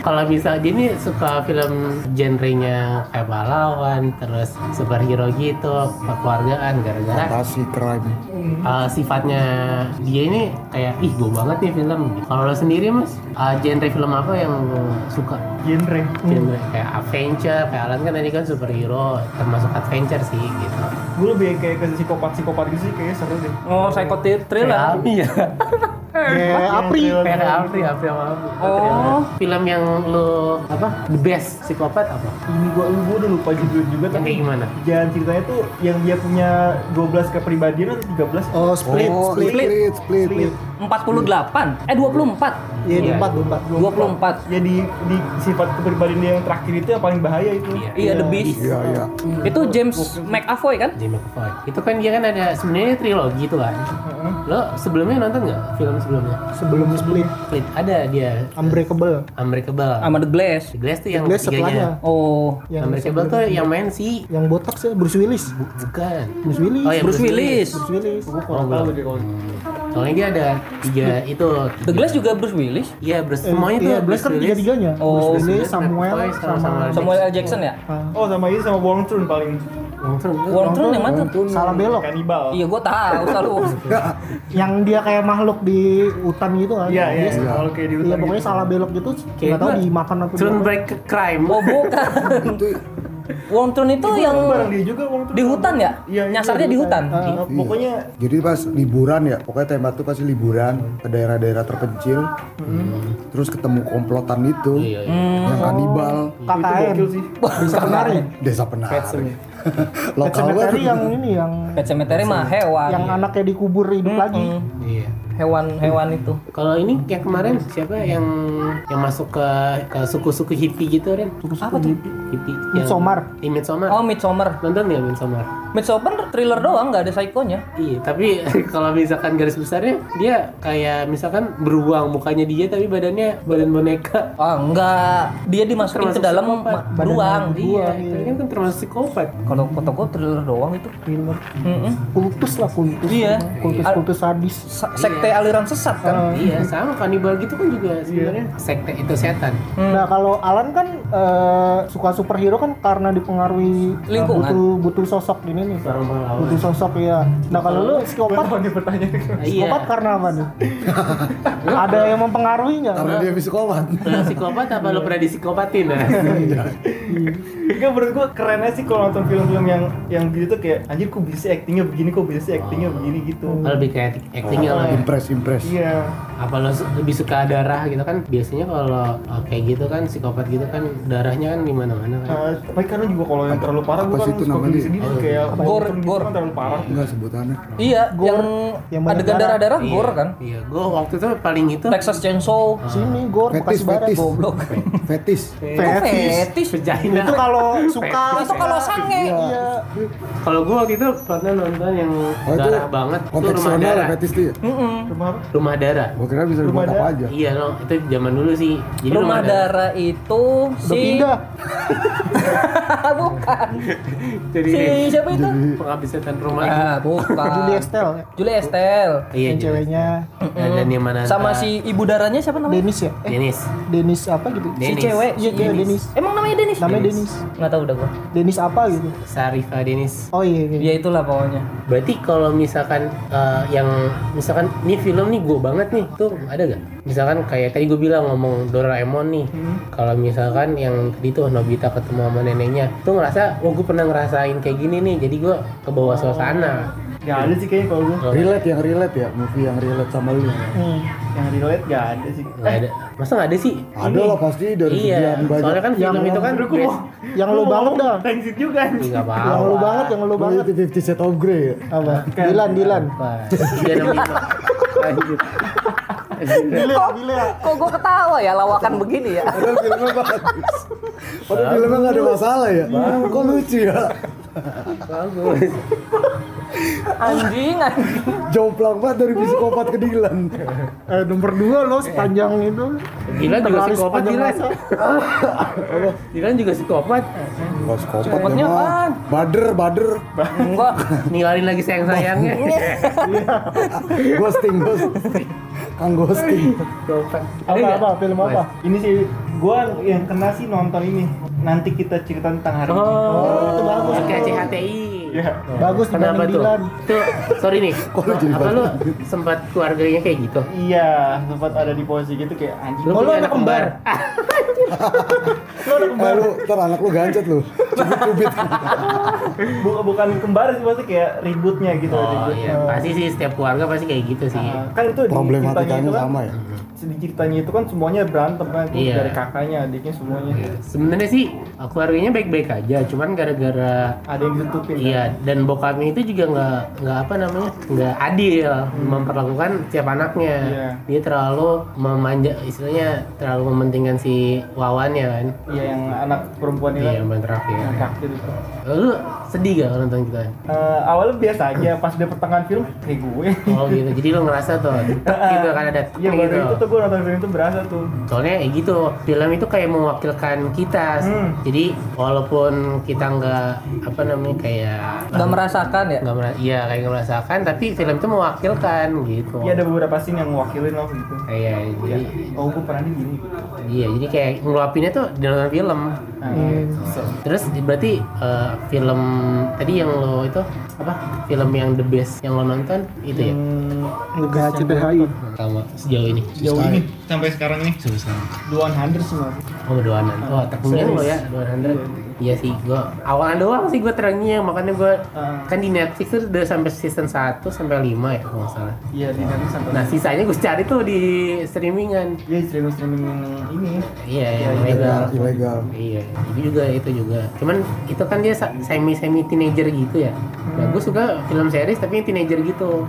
Kalau misal dia nih suka film genrenya kayak pahlawan, terus superhero gitu, kekeluargaan gara-gara Kasih crime. uh, sifatnya dia ini kayak ih gue banget nih film. Kalau lo sendiri mas, uh, genre film apa yang lo suka? Genre. Genre kayak adventure, kayak Alan kan tadi kan superhero, termasuk adventure sih gitu. Gue lebih kayak ke psikopat-psikopat gitu sih kayaknya seru deh. Oh, psikotir Ya. thriller. Iya. Iya, Eh, Apri. Kayak Apri, Apri sama Apri. Oh. Film yang lo apa? The best psikopat apa? Ini gua gua udah lupa judul juga Yang kayak tapi gimana? jalan ceritanya tuh yang dia punya 12 kepribadian atau 13 Oh, split, oh, split. split, split, split. 48. Eh 24. Iya, Iya. di empat, di empat. 24. Ya di, di sifat kepribadian dia yang terakhir itu yang paling bahaya itu. Iya. Iya, The Beast. Iya, iya. Itu James McAvoy kan? James McAvoy. Itu kan dia kan ada sebenarnya trilogi itu kan. Heeh. Lo sebelumnya nonton nggak film sebelumnya? Sebelum split, Split ada dia unbreakable. Unbreakable. Sama The Glass. The Glass tuh yang Glass ketiganya. setelahnya. Oh. Yang Unbreakable tuh yang main si Yang botak sih Bruce Willis. Bu- bukan. Bruce Willis. Oh, iya, Bruce Willis. Bruce Willis. Gua kurang tahu deh kalau. Soalnya dia ada tiga itu. The Glass juga Bruce Willis. Iya, Bruce. Eh, Semuanya tuh iya, Bruce kan tiga-tiganya. Oh, Bruce Willis, Bruce Samuel, McAvoy sama, Samuel L. Jackson ya? Oh sama ini sama Wong Chun paling Langsung gue Wong Chun yang mana? Nonton. salam belok. kanibal. Iya, gua tahu selalu. Yang dia kayak makhluk di hutan gitu kan? Iya iya. Dia- Kalau kayak di Iya, hutan. pokoknya salah belok gitu, Kayak nggak tahu gua- dimakan apa Soon dimakan. break crime. Oh, bukan. Itu Wong Chun itu Itu yang barang dia juga Wong Chun. di hutan ya? Iya, iya, Nyasarnya di hutan. Eh, pokoknya Jadi pas liburan ya, pokoknya tembak tuh pasti liburan ke daerah-daerah terpencil. Terus ketemu komplotan itu Iya, Hmm. iya. yang kanibal, itu KKN. gokil sih. Bisa penari. desa penarik. Lokal Cemetery banget. yang ini yang Pet Cemetery mah hewan. Iya. Hmm, yang anaknya dikubur hidup lagi. Iya. hewan-hewan itu. Kalau ini yang kemarin siapa yang yang masuk ke ke suku-suku hippie gitu Ren? Apa tuh? Hippie. Midsommar. Di Midsommar. Oh, Midsommar. Nonton nggak Midsommar? Midsommar thriller doang, nggak ada psikonya. Iya, tapi kalau misalkan garis besarnya dia kayak misalkan beruang mukanya dia tapi badannya badan boneka. Ah, enggak. Dia dimasukin Termasuk ke dalam psikopat. ma- beruang. Iya, tapi kan termasuk psikopat. Kalau kata gua thriller doang itu. Film Mm-mm. kultus lah kultus. Iya. Kultus-kultus sadis. Sa- Sekte aliran sesat kan. Iya, sama kanibal gitu kan juga sebenarnya sekte itu setan. Hmm. Nah kalau Alan kan eh, suka superhero kan karena dipengaruhi eh, Lingkungan. butuh butuh sosok ini nih. Orang melawan. Butuh sosok ya. Nah kalau lu psikopat, Apa nih pertanyaan? Iya. psikopat karena apa nih? Iya. Ada yang mempengaruhi nggak? Karena dia psikopat. Lo psikopat apa lo pernah disikopatin? Nah? Enggak menurut gua keren aja sih kalau nonton film-film yang yang gitu tuh kayak anjir kok bisa sih actingnya begini kok bisa sih Oh. actingnya begini gitu. Lo lebih kayak actingnya lo Impress, impress. Iya. apa lo su- lebih suka darah gitu kan biasanya kalau uh, kayak gitu kan psikopat gitu kan darahnya kan di mana-mana kan Eh, Tapi karena juga kalau yang terlalu parah Apa gua kan sih itu suka namanya? beli sendiri kayak Gore, nonton gitu gore. kan terlalu parah. Enggak sebutannya. Iya, yang, Yang banyak adegan darah. darah-darah gore kan. iya gue waktu itu paling itu Texas Chainsaw. Sini gor Fetis, Bekasi Barat fetis. goblok. Fetis. Kok Fetis. fetish? kan- vagina Itu kalau suka Itu kalau sange. Iya. kalau gue waktu itu pernah nonton yang Oh, itu darah banget itu rumah konteksional darah ya fetis dia. Mm-mm. Cuma apa? rumah darah Gua kira bisa dibuat Rumah apa aja. iya no itu zaman dulu sih jadi Rumah darah itu Udah si Ah. pindah. bukan jadi si siapa itu? penghabis setan rumah Ah, Juli bukan. Estel ya. Julie Estelle. iya yang jadi. ceweknya Nah, dan yang mana Sama si ibu darahnya siapa namanya? Denis ya? Eh, Dennis Denis apa gitu? Si Dennis. cewek. Iya, iya, Denis. Emang namanya Denis? Namanya Denis. Nggak tahu udah gua. Denis apa gitu? Sarifa Dennis Oh iya, iya. Ya itulah pokoknya. Berarti kalau misalkan eh, yang misalkan ini film nih gue banget nih tuh ada gak? Misalkan kayak tadi gue bilang ngomong Doraemon nih, Hmm. kalau misalkan yang tadi tuh Nobita ketemu sama neneknya, tuh ngerasa, wah gue pernah ngerasain kayak gini nih, jadi gue ke bawah Oh. suasana. Gak ada sih kayaknya kalau gua Relate yang relate ya, movie yang relate sama lu. Hmm. yang relate gak ada sih. Iya. Eh, Nggak ada, masa nggak ada sih? Ada lah pasti dari iya, sekian banyak. soalnya kan film Eh. Yang- itu kan Aduh, gua mau- Yang lu gua mau banget dah. Transit juga anjing. nggak apa-apa. Yang lu banget, yang lu banget. Itu 50 set of grey ya? Apa? Dilan, Dilan. Wah, Iya, namanya. Lanjut. Gila, gila. Kok gua ketawa ya lawakan begini ya? Padahal filmnya bagus. Padahal filmnya nggak ada masalah ya. Kok lucu ya? Bagus. Anjing, anjing. Jomplang banget dari psikopat ke Dilan. Eh, nomor dua lo sepanjang itu. Dilan juga Terlaris psikopat, sepanjang Dilan. masa. Dilan juga psikopat. Wah, psikopat Psikopatnya emang. apaan? Bader, bader. Enggak. Ninggalin lagi sayang-sayangnya. ghosting, ghosting. Kang ghosting. Apa nggak? apa film apa? Ini sih gua yang kena sih nonton ini. Nanti kita cerita tentang hari ini. Oh, itu bagus. Oke, CHTI. Iya. Bagus Kenapa tuh? dibanding Dilan. Tuh, sorry nih. Kok lu jadi apa lu bagus? sempat keluarganya kayak gitu? Iya, sempat ada di posisi gitu kayak anjing. Lu Oh, lu punya Ah, anak kembar. Lo anak Eh, kembar. lu, ntar anak lu gancet lu. Cubit-cubit. Eh, Bu- bukan kembar sih maksudnya kayak ributnya gitu Oh ributnya. iya, pasti sih setiap keluarga pasti kayak gitu sih. Nah, Ah. kan itu di ceritanya Problematikanya itu kan, sama ya. di ceritanya itu kan semuanya berantem kan itu Iya. dari kakaknya adiknya semuanya Sebenarnya sih keluarganya baik-baik aja, cuman gara-gara ada yang ditutupin kan? Iya, dan bokapnya itu juga nggak nggak apa namanya nggak adil memperlakukan tiap anaknya. Iya. Dia terlalu memanja, istilahnya terlalu mementingkan si Wawannya kan. iya yang anak perempuan itu Iya, kan, yang paling terakhir. yang terakhir itu Lu sedih gak kalau nonton kita? Eh, awalnya biasa aja pas udah pertengahan film kayak gue Oh gitu, jadi lu ngerasa tuh tek gitu kan ada tek Iya baru gitu. itu tuh gue nonton film itu berasa tuh Soalnya ya gitu, film itu kayak mewakilkan kita. Hmm. Jadi walaupun kita nggak apa namanya kayak Enggak merasakan ya? nggak mera- iya kayak nggak merasakan, tapi film itu mewakilkan gitu. Iya ada beberapa scene yang wakilin loh gitu Iya, jadi oh gue pernah di gini iya, jadi kayak ngeluapinnya tuh di nonton film. Iya, gitu. nah, so, Terus berarti eh, film tadi yang lo itu apa? Film yang the best yang lo nonton itu ya Enggak CPHI. sama sejauh ini. jauh ini Iya. sampai sekarang nih Susah. 200 semua Oh, doanan. Oh, tekungin lo ya, doanan. Iya sih, gua awalan doang sih gua terangnya makanya gua Ah. kan di Netflix tuh udah sampai season 1 sampai 5 ya kalau nggak salah. Iya di Netflix sampai. Nah, sisanya gua cari tuh di streamingan. Iya streaming streaming ini. Iya, yang ilegal, legal. ilegal. Iya, itu juga itu juga. Cuman itu kan dia semi semi teenager gitu ya. Nah, gue suka film series tapi yang teenager gitu.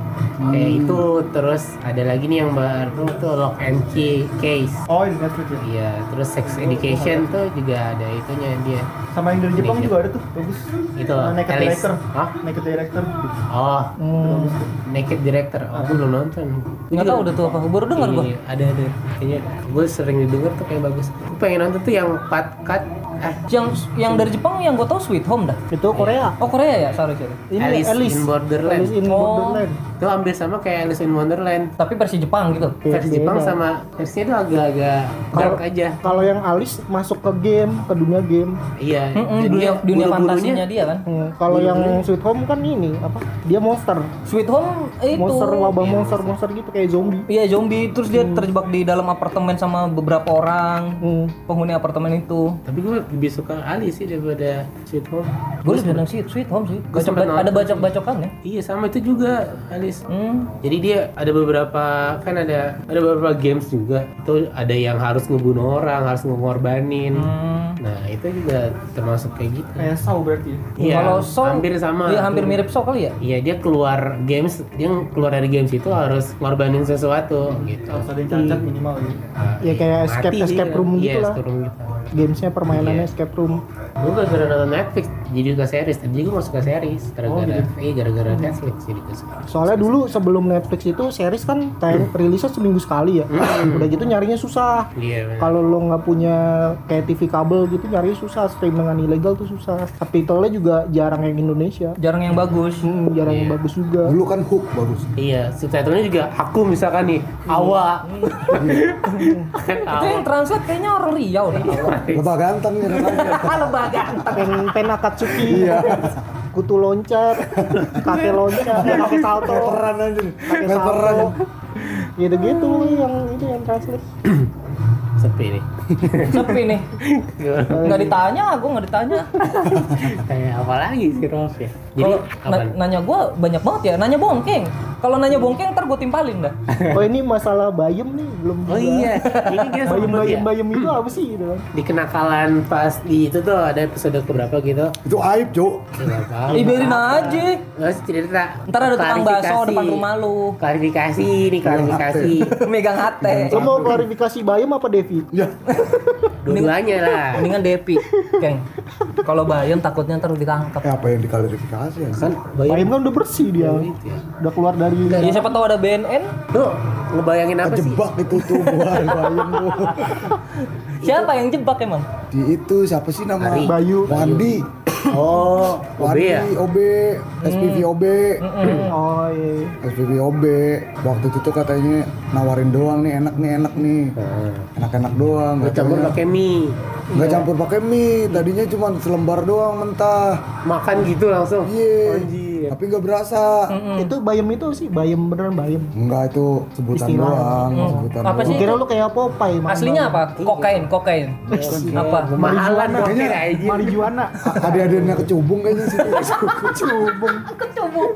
Kayak itu terus ada lagi nih yang baru tuh Lock and Key Case. Oh di Netflix ya. Iya, terus Sex Education tuh juga ada itunya dia. Sama yang dari Jepang Ini, ya. juga ada tuh bagus. Itu, Nah, Naked Alice. Director. Hah? Naked Director. Oh, Naked Director. Oh, gue belum nonton. Gua Nggak juga- tahu udah tuh apa. Baru dengar gua. Iya, ada ada. Kayaknya gue sering didengar tuh kayak bagus. Gue pengen nonton tuh yang 4 cut. Ah, Yang yang dari Jepang yang gua tahu Sweet Home dah. Itu Korea. Oh Korea ya sorry sorry. Ini Alice, in Borderland. Alice in Oh. Borderland. Itu hampir sama kayak Alice in Wonderland. Tapi versi Jepang gitu. Versi Beda. Jepang sama versinya tuh agak-agak dark aja. Kalau yang Alice masuk ke game, ke dunia game. Iya. jadi Mm-mm, dunia dunia buru-burunya- fantasinya dia kan. Hmm, kalau Iya, yang Sweet Home kan ini apa? Dia monster. Sweet Home eh, itu. Monster wabah Iya, monster-monster gitu kayak zombie. Iya zombie terus dia terjebak di dalam apartemen sama beberapa orang Hmm. penghuni apartemen itu. Tapi gue lebih suka Alice sih daripada Sweet Home. Gue lebih seneng Sweet Sweet Home sih. Gua Bacok, sempet nonton. ada bacok-bacokan ya. Iya sama itu juga Alice. Hmm. Jadi dia ada beberapa kan ada ada beberapa games juga. Itu ada yang harus ngebunuh orang, harus ngorbanin. Hmm. Nah itu juga termasuk kayak gitu. Kayak Saw berarti. ya? Iya, Kalau Saw, hampir sama. Iya hampir mirip Saw kali ya. Iya dia keluar games, dia keluar dari games itu harus ngorbanin sesuatu Hmm. gitu. Iya. Harus ada yang cacat minimal ya. Ya, kayak escape- escape room gitu lah. escape room gitu. Gamesnya Iya. permainannya escape room. Gue gara-gara nonton Netflix jadi suka series, tapi gue gak suka series Oh, gara-gara gitu. iya gara-gara Netflix jadi gue suka. Soalnya dulu sebelum Netflix itu series kan Hmm. kayak rilisnya seminggu sekali ya. Udah gitu nyarinya susah. Iya. bener. Kalau lo nggak punya kayak TV kabel gitu nyarinya susah. Stream dengan ilegal tuh susah. Subtitlenya juga jarang yang Indonesia. Jarang yang bagus. Hmm, jarang Iya. yang bagus juga. Dulu kan hook bagus. Iya, subtitlenya juga aku misalkan nih, awa. Kan Itu awa. yang translate kayaknya orang Riau dah. Iya. Iya. Lebah ganteng ya katanya. Pen penakatsuki. Kutu loncat, kakek loncat, kakek salto. Peran aja. nih. pakai Main Peran. salto gitu-gitu yang itu yang translate Sepi nih. Sepi nih. Nggak ditanya, gue nggak ditanya. Kayak apa lagi sih Rolf ya? Jadi Kalau apa? na- nanya gue banyak banget ya. Nanya bongkeng. Kalau nanya bongkeng ntar gue timpalin dah. oh ini masalah bayem nih belum Oh juga. iya, ini kita bayem sebut bayem ya. bayem itu apa sih gitu kan Di kenakalan pas di itu tuh ada episode keberapa gitu. Itu aib, Cuk. Gak apa-apa. Liberin aja. Terus cerita Ntar ada tukang bakso klarifikasi. depan rumah lu. Iya, Klarifikasi nih klarifikasi Megang hate. lo mau klarifikasi bayem apa Devi Ya, Dua-duanya lah Mendingan Depi, Keng. Kalau Bayon takutnya ntar ditangkap. eh, apa yang diklarifikasi ya? Kan bayem bayangin kan udah bersih dia gitu iya. ya. udah keluar dari Ya siapa tahu ada BNN. Lu ngebayangin apa sih? Kejebak itu tuh gua bayem tuh. Siapa yang jebak emang? Di itu siapa sih nama? Ari. Bayu Wandi. Oh, OB Wandi, ya? OB, SPV OB. oh iya SPV OB. Waktu itu tuh katanya nawarin doang nih, enak nih, enak nih. Enak-enak doang. Gue Nah. campur katanya. pakai mie Nggak campur pakai mie, tadinya cuma selembar doang mentah. Makan gitu langsung Iya. Anjir. Tapi nggak berasa. Hmm. itu bayem itu sih bayem beneran bayem Enggak itu sebutan Istilah. doang, sebutan kan? Oh. Apa doang. sih? kira lu kayak Popeye makan Aslinya apa? Iya. Kokain, kokain. Apa? Mahalan Kayaknya- dokter aja marijuana A- Ada-adanya kecubung kayaknya sih. kecubung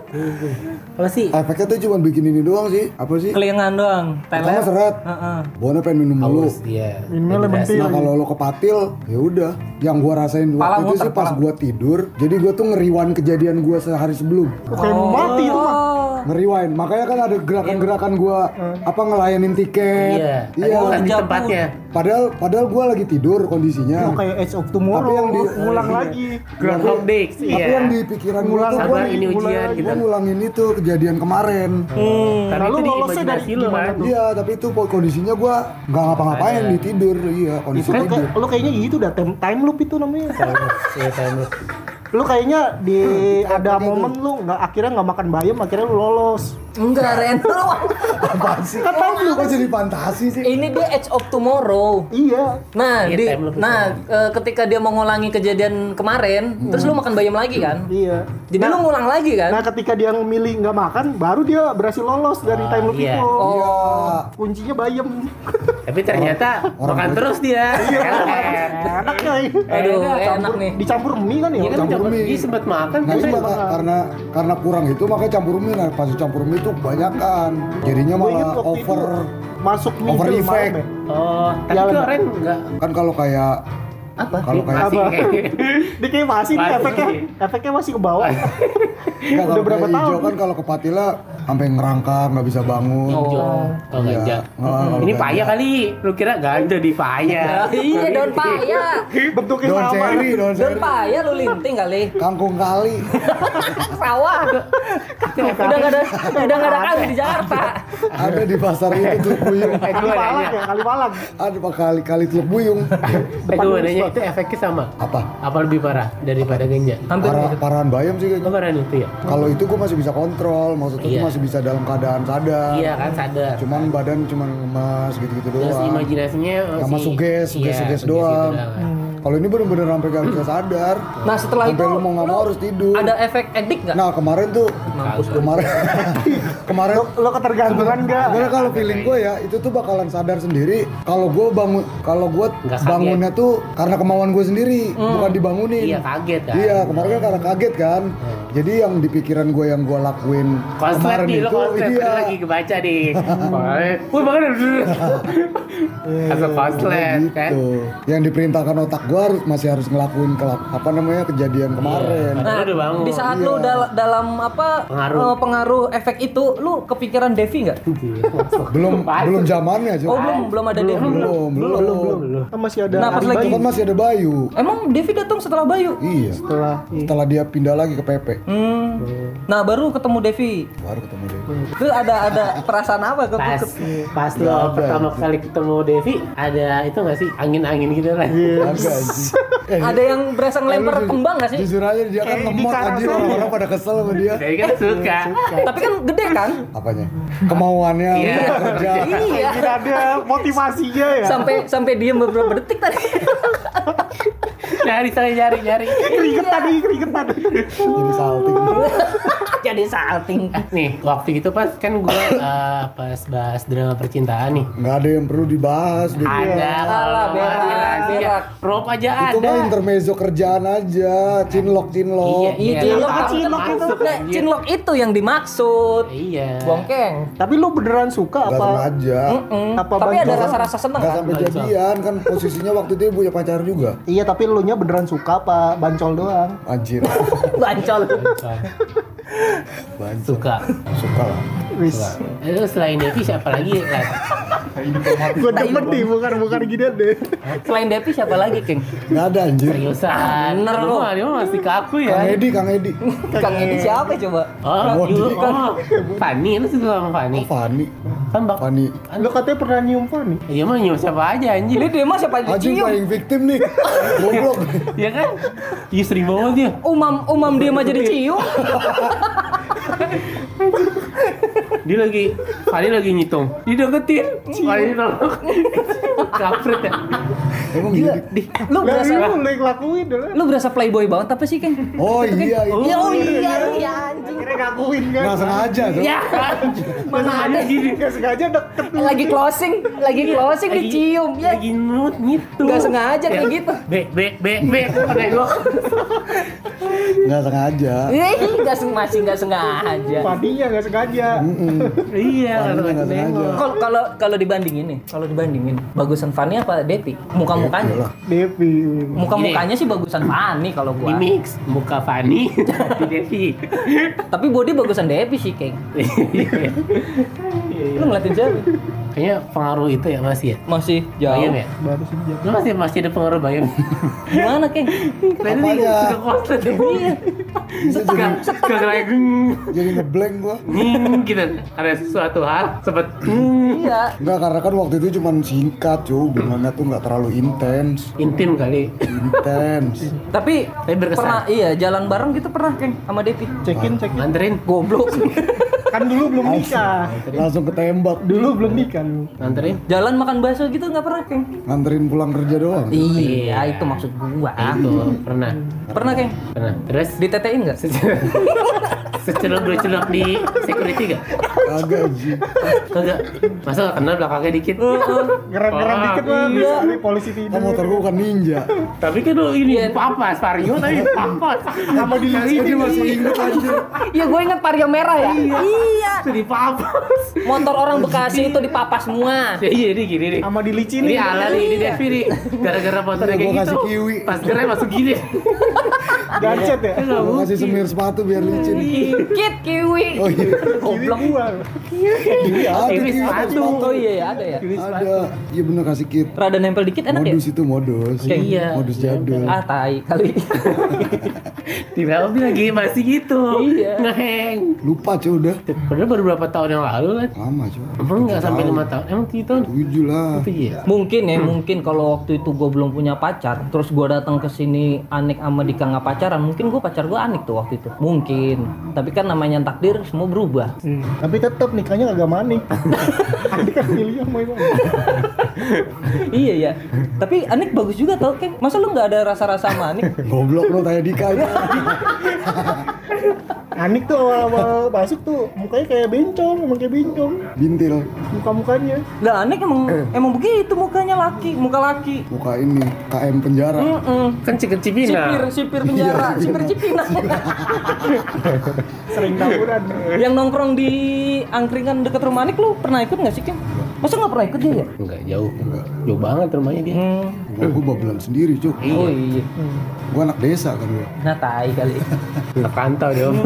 Apa sih? Efeknya tuh cuma bikin ini doang sih. Apa sih? Kelingan doang. ah. Pertama Teler. seret. Heeh. Bona pengen minum dulu. Haus dia Minumnya lemon tea Nah kalau lo kepatil, ya udah. Yang gua rasain Iya. Pala waktu itu muter, sih pas pala. gua tidur. Jadi gua tuh ngeriwan kejadian gua sehari sebelum. kayak mau mati itu mah Oh. Ngeriwain. Makanya kan ada gerakan-gerakan gua Hmm. apa ngelayanin tiket. Iya Iya Iya. Bukan di Jabut. tempatnya Padahal padahal gua lagi tidur Iya. Lu kondisinya. Oh, kayak Edge of Tapi yang Tomorrow Oh, di- iya. ngulang lagi Groundhog Day Iya. Tapi yang di pikiran gua tuh gua Sabar ini ujian Gue gitu ngulangin itu kejadian kemarin. Hmm. Tapi Lalu itu di lolosnya dari imajinasi lu gimana kan Iya, tapi itu po- kondisinya gua nggak ngapa-ngapain di tidur. Iya, kondisi Kan tidur. kayak- lu kayaknya gitu dah time, time loop itu namanya. Iya, tahu. lu kayaknya di Hmm, ada momen lu nggak akhirnya nggak makan bayam akhirnya lu lolos. Enggak, Ren. Apaan sih? Iya, Kok jadi fantasi sih? Ini dia Edge of Tomorrow. Iya. Nah, Iya, di, time loop nah eh, ketika dia mengulangi kejadian kemarin, terus lu makan bayam lagi kan? Iya. Jadi lu ngulang lagi Nah kan? ketika dia milih Oh. nggak makan, baru dia berhasil lolos dari time loop iya. itu. Iya. Kuncinya bayam. Tapi ternyata makan terus dia. Iya. Kan? Enak. enak nih Aduh, Enak, eh, enak campur. nih. dicampur mie kan ya Iya kan Campur campur mie. dia sempat makan Nah kan. itu maka- karena karena kurang itu makanya campur mie nah pas campur mie itu kebanyakan jadinya Gua ingat malah waktu itu over masuk mie over film effect. malam ya. Oh, tapi Ya, itu enak. orang enggak kan kalau kayak apa Iya, kalau kayak masih Apa? kayak gitu. dia kayak masih nih Masih. efeknya efeknya masih ke bawah Udah nggak, kalau berapa kayak hijau tahun? kan kalau kepatila sampai ngerangkang nggak bisa bangun hijau. Oh, Iya. ganja. Oh, kalau Ini ganja. paya kali. Lu kira ganja di Eh, paya. iya, daun paya. bentuknya Daun sama ceri, daun Daun ceri. paya lu linting kali. Kangkung kali. Sawah. udah enggak ada udah enggak ada kali di Jakarta. ada di pasar itu teluk buyung. Aduh, kalimalang nanya. ya kalimalang Ada pak kali kali teluk buyung. Eh, gue nanya itu efeknya sama. Apa? Apa lebih parah daripada ganja? Hampir gitu. Parah, parahan bayam sih Lo kayaknya. parah itu ya? Kalau itu gue masih bisa kontrol, maksudnya Iya. gua masih bisa dalam keadaan sadar. Iya kan sadar. Cuman badan cuman lemas gitu-gitu Terus doang. imajinasinya Sama masih- suges, suges, Iya, suges gitu doang. doang. Kalau ini bener-bener sampai gak bisa sadar. Nah, setelah Sampai itu lu mau nggak mau lu harus tidur. Ada efek edik enggak? Nah kemarin tuh, Mampus gua. kemarin, kemarin lo ketergantungan gak Karena kalau feeling gue ya itu tuh bakalan sadar sendiri kalau gue bangun kalau gue Nggak kaget. bangunnya tuh karena kemauan gue sendiri bukan dibangunin. Iya kaget kan. Iya, kemarin kan karena kaget kan. Jadi yang di pikiran gue yang gue lakuin Konslet kemarin nih lo itu konslet iya. Padahal lagi kebaca nih. Wih banget. Asal konslet Iya, Gitu. kan. Yang diperintahkan otak gue harus masih harus ngelakuin kelap apa namanya kejadian kemarin. Iya. Padahal udah bangun. Nah, Di saat lu dal- dalam apa Pengaruh. eh, pengaruh efek itu, lu kepikiran Devi nggak? Belum belum zamannya aja. Oh belum belum ada Devi. belum, belum, belum. masih ada Nah, pas hari lagi- Kan masih ada Bayu. Emang Devi datang setelah Bayu. Iya. setelah Setelah dia pindah lagi ke Pepe, Hmm. Nah baru ketemu Devi. baru ketemu dia. Itu ada ada perasaan apa? Ke, Pas, ke- pas lo Nggak ada. pertama kali ketemu Devi ada itu nggak sih angin-angin gitu kan? Iya. Agak sih. Eh, ada yang berasa ngelempar Lu ju- kembang nggak sih? Jujur aja dia kan lemot anjir orang-orang pada kesel sama dia. Jadi kan suka. Tapi kan gede kan? Apanya? Kemauannya Iya. untuk kerja. iya. tidak ada motivasinya ya Sampai sampai dia beberapa detik tadi. Nyari saya nyari nyari. keringetan tadi keringetan Jadi salting. Jadi salting. Ah, Nih waktu itu pas kan gue pas bahas drama percintaan nih. Nggak ada yang perlu dibahas. Dek. Ada Alah, kalau berak, rahasia. berak. Rob aja Iya. Itu ada. mah intermezzo kerjaan aja, cinlok cinlok. Iya, cinlok, Tahu, cinlok itu. masuk, Nah, anjir. cinlok itu yang dimaksud. Iya. Bongkeng. tapi lu beneran suka Gak apa pernah aja. Mm-mm. Apa Tapi bang- ada rasa-rasa seneng Gak kan? sampai jadian kan posisinya waktu itu dia punya pacar juga. iya tapi lu nya beneran suka apa bancol doang Anjir, Bancol. bantu. Suka. Suka lah. wis Eh, Lu selain Devi siapa lagi? Lan? gue demen nih bukan bukan gini deh Selain Devi siapa lagi, King? Ah, Nggak ada anjir. Iya. Seriusan. Bener Lu lu. mah- Dia mah masih kaku Kang ya. Edi, Kang Edi. Kang Edi siapa coba? Oh, Kang lu, Edi. oh, Fani, lu suka sama Oh, Fani? Fani. Kan bak, Fani. lu katanya pernah nyium Fanny dia mah nyium siapa aja Ini anjir? dia mah siapa yang Anjing dicium? paling victim nih. Goblok. Ya kan? Iya sering banget dia. Umam umam dia mah jadi cium. Dia lagi, Fani lagi nyitung. Dideketin. Fani nolak. Kampret ya. Emang gila. Lu Lah berasa lu mulai ngelakuin dulu lu berasa playboy banget apa sih, King? Oh iya, iya. Ya oh iya iya anjing. akhirnya ngakuin kan Nggak sengaja tuh. Iya. Ya. Mana ada gini. nggak sengaja deket lu. lagi closing, lagi closing dicium ya. Lagi nut nyitung. Gak sengaja kayak gitu. Be, be, be, be. Pakai gua. Nggak sengaja. Ih, gak seng- masih gak sengaja. Fanny-nya nggak sengaja Hmm. Iya, Fani kalau nggak sengaja. Kalau kalau kalau dibandingin nih, kalau dibandingin bagusan Fanny apa Depi? Muka mukanya, Iya, Iyalah. Devi muka mukanya sih bagusan Fanny kalau Di gua. mix muka Fani di Devi. Tapi body bagusan Depi sih, King. Lu ngeliatin jauh. Kayaknya pengaruh itu ya masih ya. Masih jauh. Bayam ya. baru sejak Lu masih masih ada pengaruh bayam. Gimana, King? Tadi Apanya? dia suka konslet Iya. ya. Suka suka kayak geng Jadi ngeblank gua. geng gitu. Ada sesuatu hal sempat geng. Iya. Enggak karena kan waktu itu cuman singkat cuy, hubungannya tuh nggak terlalu intens. intim kali. Intens. Tapi Tapi berkesan. pernah iya jalan bareng gitu pernah, King, sama Depi. check in check in Nganterin, Goblok. kan dulu belum nikah Langsung ketembak. dulu belum nikah lu nganterin. jalan makan bakso gitu nggak pernah, King. Nganterin pulang kerja doang. Iya, itu maksud gua. Itu Ah, pernah. Pernah, King? Pernah. Terus Ditetein nggak? secelup dua celup di security gak? Agak anjing. Kagak. Masa nggak kenal belakangnya dikit. Ngerem-ngerem Wah, dikit mah iya. bisa nih, polisi Kan tidur. motor gua bukan ninja. Tapi kan lu ini papa Vario tapi papa sama di Ini masih inget anjir. Ya gue inget vario merah ya. Iya. itu di papa. Motor orang Bekasi itu dipapas semua. Ya iya ini gini nih. Sama dilicin Ini nih. ala nih, ini Devi nih. Gara-gara motornya Ntar gua kayak gitu. kasih kiwi. Pas gerai masuk gini. Gancet ya. Enggak Gua kasih mungkin. semir sepatu biar licin. Kit kiwi. Oh iya. Kiri gua. Ada Ini kiwi sepatu. Oh iya ya ada ya. Ada. Iya bener kasih kit. Rada nempel dikit enak ya. Modus itu modus. Iya. Modus jadul. Ah tai kali. Di Melbourne lagi masih gitu. Iya. Ngeheng. Lupa cuy udah. Padahal baru berapa tahun yang lalu lah. Lama cuy. Emang nggak sampai lima Tujuh tahun. Emang tujuh tahun. tahun. Tujuh lah. Itu iya. mungkin ya mungkin kalau waktu itu gue belum punya pacar terus gue datang ke sini Anik sama Dika nggak pacaran mungkin gue pacar gue Anik tuh waktu itu mungkin tapi kan namanya takdir semua berubah Tapi tetap nikahnya agak manik. Adik kan pilih sama Iwan. iya ya tapi Anik bagus juga tau Keng masa lu nggak ada rasa-rasa sama Anik Goblok lo tanya Dika ya. Anik tuh awal-awal masuk tuh mukanya kayak bencong, emang kayak bencong Bintil. muka-mukanya. lah Anik emang emang begitu mukanya laki muka laki Muka ini KM penjara. Mm-mm. Kencing-kencing sipir Cipina. sipir penjara sipir Cipina Sering taburan. yang nongkrong di angkringan deket rumah Anik lu pernah ikut nggak sih Keng masa nggak pernah ikut dia ya Enggak jauh. Jauh banget rumahnya dia. Hmm. Gua, gua babelan sendiri cuy. oh iya Gua anak desa kan Iya. gua. nah tai kali Ke kantor dia.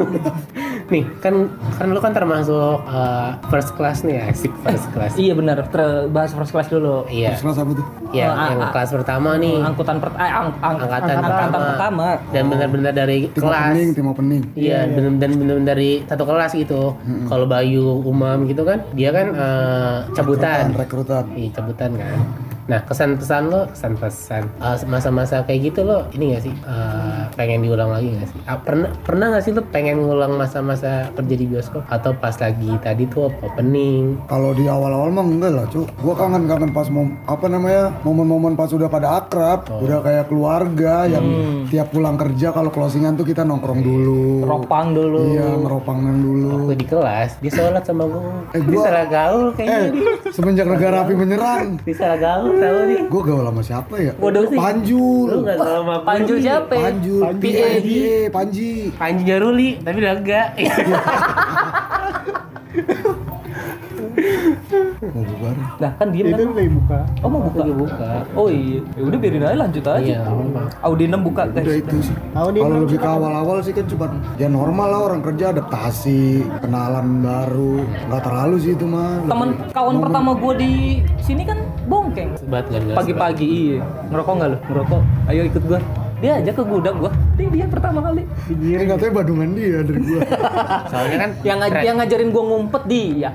Nih, kan kan lu kan termasuk eh, first class nih, asik first class. Iya benar, ter- bahas first class dulu. Iya. Terus apa tuh? Ya, Ah, yang ah, kelas pertama nih. Angkutan per- eh, ang- ang- Angkatan angkatan pertama. pertama. Dan benar-benar dari Tim kelas. pening, tim pening. Iya, bener dan bener dari satu kelas gitu. Kalau Bayu, Umam gitu kan, dia kan eh, cabutan. Rekrutan. Iya, cabutan kan. Nah, kesan-pesan lo, kesan-pesan Eh, masa-masa kayak gitu lo, ini gak sih eh, pengen diulang lagi gak sih? Ah, pernah pernah gak sih lo pengen ngulang masa-masa kerja di bioskop atau pas lagi tadi tuh opening? Kalau di awal-awal mah enggak lah cuy. Gua kangen-kangen pas mom apa namanya momen-momen pas udah pada akrab, Oh. udah kayak keluarga yang Hmm. tiap pulang kerja kalau closingan tuh kita nongkrong dulu. Ropang dulu. Iya, meropangan dulu. Gue di kelas, dia sholat sama gue. Eh, Dia gua- salah gaul kayaknya. Eh, semenjak negara api menyerang, Dia salah gaul tau nih. gua gaul sama siapa ya? Bodoh sih. Panjul. Lu ya? gak gaul sama Panju siapa? ya? Panjul, Panji. Panji, Panji. Panji Jaruli, tapi udah enggak. Mau Oh, bubar. Nah kan diem Itu kan. udah dibuka. Oh mau buka? Lagi buka. Oh iya, ya udah biarin aja lanjut aja. Iya, nggak apa-apa. Audi 6 buka Udah guys. itu sih. Tahu dia Kalau belum lebih ke awal-awal sih kan cuma ya normal lah orang kerja adaptasi, kenalan baru. Nggak terlalu sih itu mah. Temen Lebih- kawan momen- pertama gue di sini kan bongkeng. Sebat gara-gara Pagi-pagi iya. Ngerokok nggak lu? Ngerokok. Ayo ikut gua. Dia aja ke gudang gua. Dia dia pertama kali. Eh, katanya Badungan dia dari gua. sebat. Soalnya kan Yang ngaj- yang ngajarin gua ngumpet dia.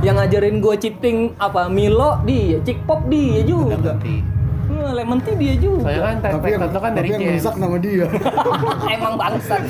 Yang ngajarin gua cheating apa Milo dia, Cikpop dia juga. ngerti. Hmm, lemon tea dia juga. Soalnya kan tapi yang, tekad lo kan tapi dari yang James. rusak nama dia. Emang bangsat.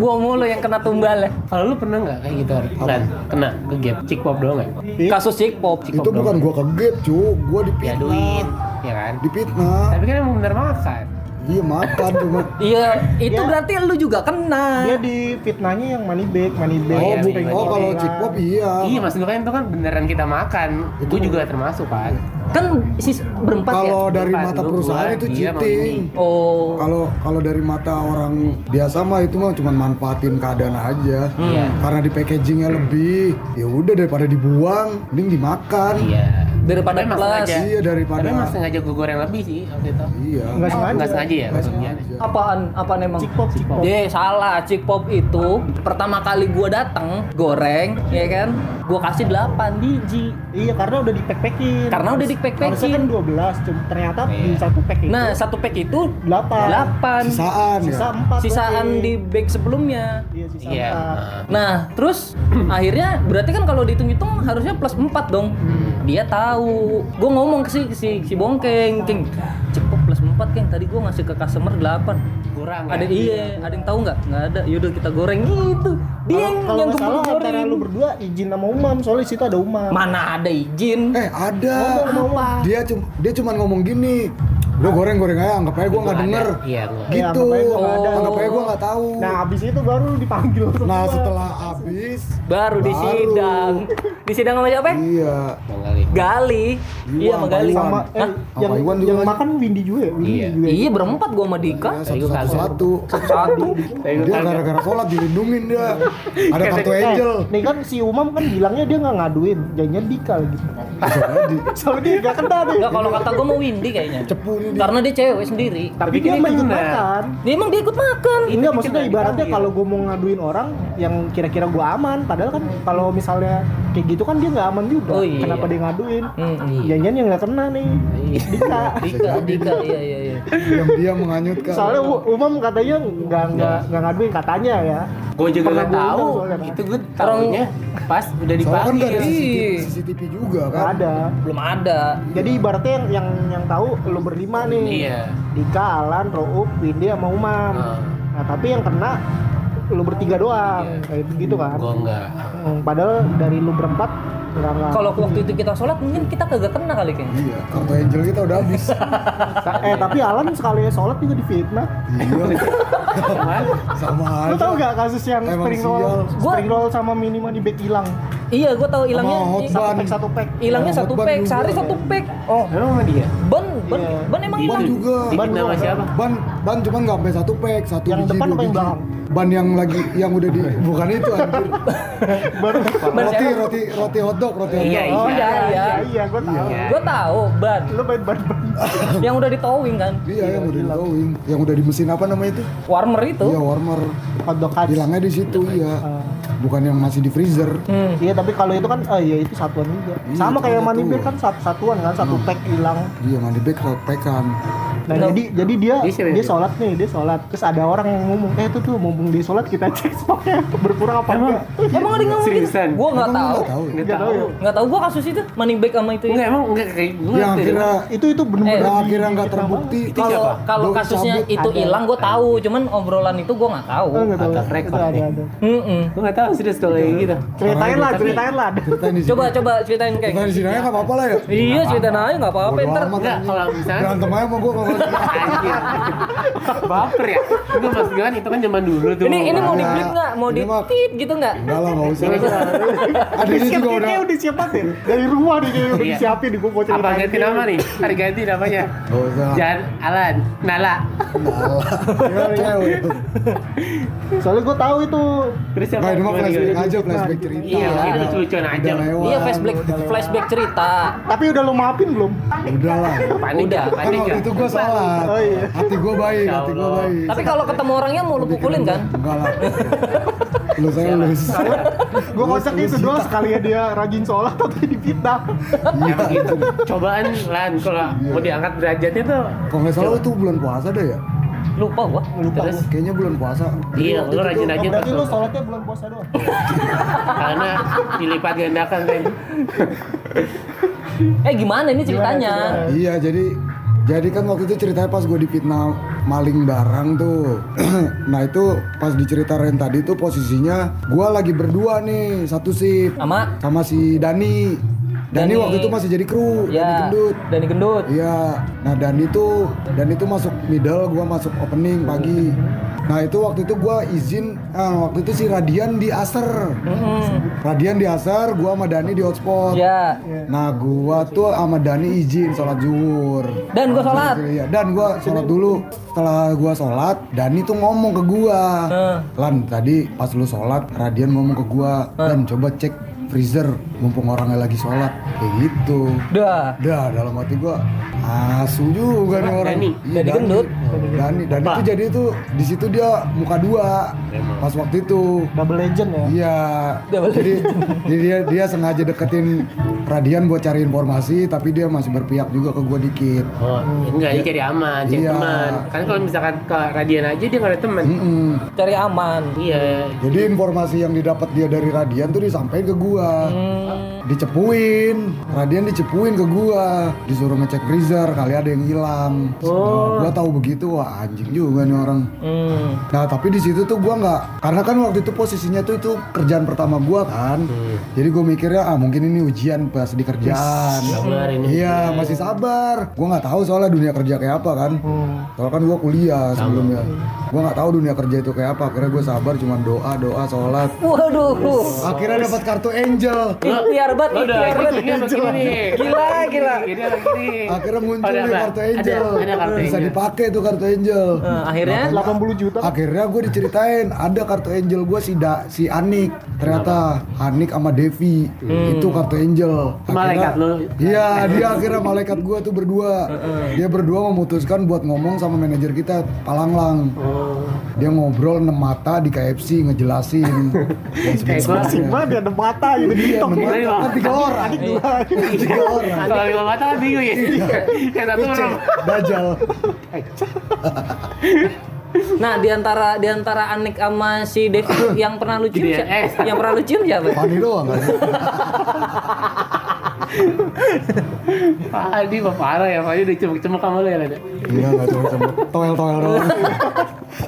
gua mulu yang kena tumbal ya. Kalau lu pernah nggak kayak gitu Ari? Kan kena ke gap cik pop doang nggak? Kasus Cikpop, Cikpop. Iya. itu bukan gua kaget, cu. Gua Ya dipitnah. duit, ya kan? Dipitnah. Tapi Oh, kan emang bener makan. Iya, makan cuma. Iya, itu berarti lu juga Dia kena. di fitnahnya yang money back, money back. Oh, iya, bu, oh kalau Iya. cikpop iya. Iya, maksud gue kan itu kan beneran kita makan. Gue juga termasuk kan. Iya. Kan sis berempat ya. Kalau dari Empat, lu, mata Iya, perusahaan gua, itu dia sama cheating. ini. Oh, Kalau kalau dari mata orang biasa mah itu mah cuma manfaatin keadaan aja. Iya. Karena di packagingnya lebih. Ya udah daripada dibuang, mending dimakan. Iya. Daripada Tapi emang kelas. sengaja. Iya, daripada- Tapi emang sengaja gue goreng lebih sih waktu itu. Iya. Nggak sengaja. Nggak sengaja ya? Nggak maksudnya. sengaja. apaan apaan emang? Cikpop, cikpop. Ye, salah. Cikpop itu pertama kali gua datang goreng, ya kan? Gua kasih 8 biji. Iya, karena udah di pack packin. Karena udah di-pack-packin. Harusnya kan 12, cuma ternyata di satu pack itu Nah, satu pack itu 8. 8. Sisaan Sisa ya. 4. Sisaan di bag sebelumnya. Iya, sisa Iya. 4. Nah, terus akhirnya berarti kan kalau dihitung-hitung harusnya plus 4 dong. Hmm. Dia tahu. Gue ngomong ke si si, si Bongkeng, King. Cepet plus 4, King. Tadi gue ngasih ke customer 8. Kurang. Ada ya? iya, ada yang tahu nggak? Nggak ada. Yaudah kita goreng gitu. Dia yang Kalau yang nggak salah keburu antara lu berdua izin sama Umam, soalnya di situ ada Umam. Mana ada izin? Eh ada. Ngomong sama Umam. Dia cuma dia cuma ngomong gini. Udah goreng-goreng aja, anggap aja gue nggak Nggak denger. ada. Iya, nggak. Ya, Gitu, anggap aja gua nggak ada. anggap aja gue nggak tahu. Nah, abis itu baru dipanggil. Nah semua. setelah habis, Baru, di Baru. sidang. Di sidang sama Eh. siapa? iya. Bang Ali. Gali. Iwan, Iya, sama Pak Gali. Iwan. sama eh Hah? Apa yang, Iwan juga kan? yang lagi? makan Windy juga ya? Windy Iya. juga. Iya, berempat gua sama Dika. Ya, Ayo, satu satu kagak. satu. Satu. Dia gara-gara sholat dilindungin dia. Ada kartu Eh, angel. nih kan si Umam kan bilangnya dia nggak ngaduin, janjinya Dika lagi. Bisa jadi. Soalnya dia nggak kena deh. Enggak kalau kata gua mau Windy kayaknya. Cepu nih dia. Karena dia cewek sendiri. Tapi Dia kan itu ikut benar. makan. Dia emang dia ikut makan. Enggak Iya, maksudnya Dipanggil. ibaratnya kalau gue mau ngaduin orang yang kira-kira gue aman, padahal kan kalau misalnya kayak gitu kan dia nggak aman juga. Oh, iya. Kenapa dia ngaduin? Hmm, iya. Janjian yang nggak kena nih. iya. Dika. Dika, Dika, iya iya iya. Diam-diam menganyutkan. Soalnya U- Umam katanya nggak Iya. nggak nggak ngaduin katanya ya. Gue juga Pernah nggak gua tahu. undang soalnya, Pak. Itu gue tahunya pas udah Soalnya kan nggak ada dipanggil. CCTV, Ih. CCTV juga Iya. Nggak kan. ada. Belum ada. Jadi ibaratnya yang yang, yang tahu lu berlima nih. Iya. Dika, Alan, Roop, Windy sama Umam. Ah. Nah, tapi yang kena lu bertiga doang. Iya. Kayak gitu kan. Gue nggak. Hmm, Padahal dari lu berempat enggak enggak. Kalau waktu itu kita sholat mungkin kita kagak kena kali kayaknya. Iya, kartu angel kita udah habis. eh tapi Alan sekali sholat juga difitnah. iya, Cuman sama aja. Lu tahu gak kasus yang Emang spring roll, sial. Gua- spring roll sama minima di back hilang? Iya, gua tahu hilangnya Sama i- hotbar. Satu Ban. pack satu pack. hilangnya Sama satu hotbar pack, juga. sehari satu pack. Oh, lu sama dia. ban ban Iya. ban emang Ban hilang. juga. Ban Ban nama doang. siapa? Ban ban cuman nggak sampai satu pack, satu Yang biji, depan dua apa yang biji. belakang? Ban yang lagi yang udah di bukan itu anjir. Baru Ban roti siapa? roti roti hotdog, roti hotdog. Iya, Oh iya iya. iya iya gue tahu. Iya. Gua tahu ban Lu main ban ban. yang udah ditowing kan. Iya, yang udah di going, yang udah di mesin apa namanya itu? Warmer itu. Iya, warmer. Kodok aja. Hilangnya di situ, Ah. iya. Bukan yang masih di freezer. Hmm. Iya tapi kalau itu kan eh iya itu satuan juga. Iya, Sama itu kayak satuan. Hmm. money bag kan sat- satuan kan satu pack hilang. Iya, mandi bag roti pekan. Nah, Nah. jadi jadi dia Dia siapa dia dia? sholat nih, dia sholat. Terus ada orang yang ngomong, "Eh itu tuh mumpung dia sholat kita cek stoknya berkurang apa enggak." Emang ada yang ngomong gitu? Seriusan? Gua nggak Emang tahu. lu nggak tahu. ya? Nggak tahu. Nggak tahu gua kasus itu money back sama itu. ya. Enggak emang enggak kayak gue. Yang Ya, akhirnya Itu itu benar-benar yang di- akhirnya nggak di- terbukti. Itu siapa? Kalau Doi kasusnya cabut. itu Ada. hilang gua tahu, cuman obrolan itu gua nggak tahu. Oh, enggak tahu. Atas Itu rekor ada nih. ada. Mm-mm. Gue nggak tahu serius kalau Iya. kayak gitu. Ceritain lah, Tapi- ceritain lah. Ceritain di sini. Coba coba ceritain kayak. Ceritain di sini aja nggak apa-apa lah ya. Iya ceritain aja nggak apa-apa Bodo ntar. amat, Enggak anjing. kalau misalnya Berantem aja sama gue kalau Anjir. Baper ya? Enggak maksud gue kan itu kan zaman dulu tuh. Ini ini mau di Iya. blip nggak? Mau Ini di mah- tit gitu nggak? Enggak lah, nggak usah. Adanya Siap juga udah. kayaknya udah siap banget ya. Dari rumah nih kayaknya udah Iya. disiapin gue mau ceritain. Apa ganti dia. nama nih? Hari ganti namanya. Nggak usah. Jan Alan Nala. Nggak lah. Cewek itu. Soalnya gue tahu itu. Terus siapa? Nggak, ini mah Gimana, flashback gimana? aja, flashback cerita. Iya, Udah- itu lucu-lucuan aja. udah lewat. Iya flashback udah lewat. flashback cerita. Tapi udah lo maafin belum? Udah lah. Panik Udah, ya? Kan panik ya? waktu itu gue salah. Oh, iya. Hati gue baik, Ya hati gue Allah. baik. Tapi kalau ketemu orangnya mau lu pukulin kan? Enggak lah. Lu saya lulus. Gue kocak itu doang sekalinya dia rajin sholat tapi dipitnah. Ya Iya, gitu. begitu. Cobaan Lan kalau mau diangkat derajatnya tuh. Kalau nggak salah itu bulan puasa deh ya. Lupa gua. Lupa. Terus Kayaknya bulan puasa. Iya, lu rajin-rajin Berarti lo tuh. sholatnya bulan puasa doang. Karena dilipat gandakan kan. eh gimana ini ceritanya? Iya, jadi jadi kan waktu itu ceritanya pas gue difitnah maling barang tuh. nah itu pas diceritain tadi tuh posisinya gue lagi berdua nih satu sip Sama sama si Dani. Dani, Dani. waktu itu masih jadi kru, Dani ya gendut. Dani Gendut. Iya, nah dan itu dan itu masuk middle, gua masuk opening pagi. Nah itu waktu itu gua izin, eh, waktu itu si Radian di Aser, Mm-mm. Radian di Aser, gua sama Dani di Mm-hmm. hotspot. Iya. Nah gua tuh sama Dani izin sholat zuhur. Dan gua sholat. Iya, dan gua sholat dulu. Setelah gua sholat, Dani tuh ngomong ke gua, Eh. Lan tadi pas lu sholat, Radian ngomong ke gua, dan coba cek freezer mumpung orangnya lagi sholat kayak gitu. Dah. Dah dalam hati gua asu juga nih orang. Dani? Iya, Dani gendut? Dani, Dani tuh jadi itu di situ dia muka dua. Pas waktu itu Double legend ya. Iya. Double Jadi, jadi dia dia sengaja deketin Radian buat cari informasi, tapi dia masih berpihak juga ke gua dikit. Oh, enggak dia cari aman, cari Iya. Hmm. teman. Kan kalau misalkan ke Radian aja dia nggak ada teman. Mm-mm. Cari aman. Iya. Jadi informasi yang didapat dia dari Radian tuh disampaikan ke gua. Dicepuin, Radian dicepuin ke gua, disuruh ngecek freezer kali ada yang hilang. Nah, gua tahu begitu itu wah anjing juga nih orang Hmm. Nah tapi di situ tuh gua nggak karena kan waktu itu posisinya tuh itu kerjaan pertama gua kan, Hmm. jadi gue mikirnya ah mungkin ini ujian pas di kerjaan. Sabar ini. Iya masih sabar. Gua nggak tahu soalnya dunia kerja kayak apa kan. Hmm. Soalnya kan gua kuliah sebelumnya. Gua nggak tahu dunia kerja itu kayak apa. Akhirnya gue sabar cuman doa doa sholat. Waduh. Akhirnya dapat kartu angel. Ikhtiar banget, Lo udah ikhtiar ini banget. ini apa gini? Iya, Gila, gila. Ini apa gini? Akhirnya muncul Ada nih apa? kartu angel. Ada, ada kartu Bisa angel. Hmm. dipakai tuh kartu angel. Eh, akhirnya 80 juta Akhirnya gue diceritain ada kartu angel gue si da, si Anik. Ternyata Anik sama Devi itu kartu angel. Malaikat lu. Iya, dia akhirnya malaikat gue tuh berdua. Dia berdua memutuskan buat ngomong sama manajer kita Palanglang. Oh. Dia ngobrol enam mata di KFC ngejelasin. Dan Kayak gua sebagainya. Asik banget ya, ada mata gitu di Iya, TikTok enam Ini, mata. Bang. Kan tiga orang. Tiga orang. Kalau lima mata kan bingung ya. Iya. Kayak satu Kucing, orang. Dajal. Nah, di antara di antara Anik sama si Devi yang pernah lu cium Gini ya, siapa? eh. Yang pernah lu cium siapa? Fani doang kan. Pak Adi mah parah ya, Pak Adi udah cemuk-cemuk sama lu ya. Lada? Iya, nggak cuma-cuma. Toel-toel doang.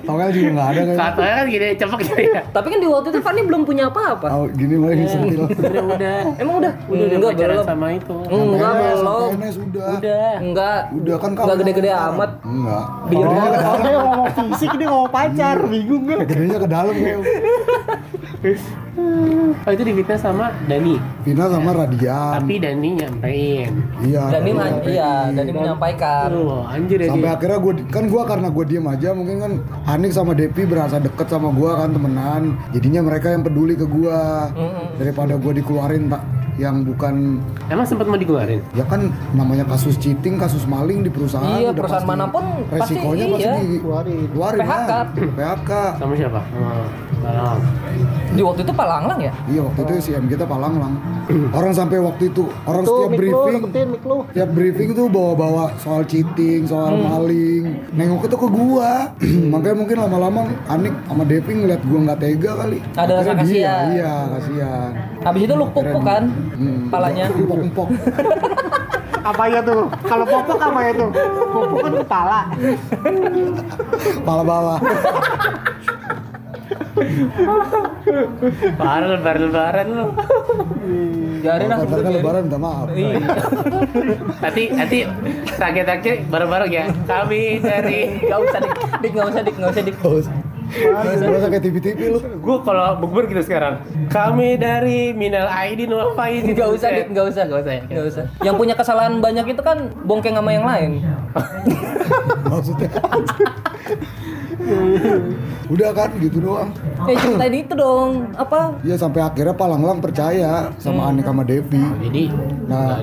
Toel juga nggak ada kayaknya. Katanya kan gini, cemuk gitu ya. Tapi kan di waktu itu Fani belum punya apa-apa. Oh, gini boleh Hmm. disentil. Udah, udah. Emang udah? Udah, udah Enggak, pacaran belum. sama itu. Enggak, PNS, belum. PNS udah. Udah. Enggak. Udah kan Enggak gede-gede sekarang. amat. Enggak. Biar Kalau dia- dia Saya ngomong fisik, dia ngomong pacar, bingung kan. gak? Gedenya ke dalam ya. Oh itu difitnah sama Dani. Vina sama Radian. Tapi Dani nyampein. Iya. Dan ini Radian. iya, dan ini menyampaikan. Aduh, anjir ya. Sampai dia. akhirnya gue kan gua karena gue diem aja mungkin kan Anik sama Depi berasa deket sama gua kan temenan jadinya mereka yang peduli ke gua daripada gue dikeluarin tak yang bukan Emang sempat mau dikeluarin? ya kan namanya kasus cheating kasus maling di perusahaan Iya, udah perusahaan pasti manapun pasti resikonya pasti, iya. dikeluarin PHK. kan. PHK Sama siapa? Sama Balang. Di waktu itu Palanglang ya? Iya waktu itu CM kita Palanglang. Orang sampai waktu itu orang Tuh, mik setiap lu, briefing, deketin mik lu setiap briefing tuh bawa-bawa soal cheating, soal maling. Nengok itu ke gua. Makanya mungkin lama-lama Anik sama Devi ngeliat gua nggak tega kali. Ada rasa Akhirnya dia, kasihan. Iya kasihan. Habis itu lu pupuk kan Hmm. palanya. Empok-empok. Apa ya tuh? Kalau popok apa ya tuh? Popok kan kepala Kepala bawah. Parah lebar-lebaran lu. Biarin lah. Kalau kan lebaran minta maaf. Iya. Nanti nanti target-target bareng-bareng ya. Kami dari Gak usah dik, dik gak usah dik, gak usah dik. Berasa kayak TV-TV lu. gue kalau bukber gitu sekarang. Kami dari Minal Aidin Wal Faizin. Gak usah dik, gak usah, gak usah ya. Gak usah. Yang punya kesalahan banyak itu kan bongkeng sama yang lain. Ya, Maksudnya. Udah kan gitu doang. Ya ceritain itu dong. Apa? Iya sampai akhirnya Palanglang percaya sama Anik sama Devi. Jadi Nah,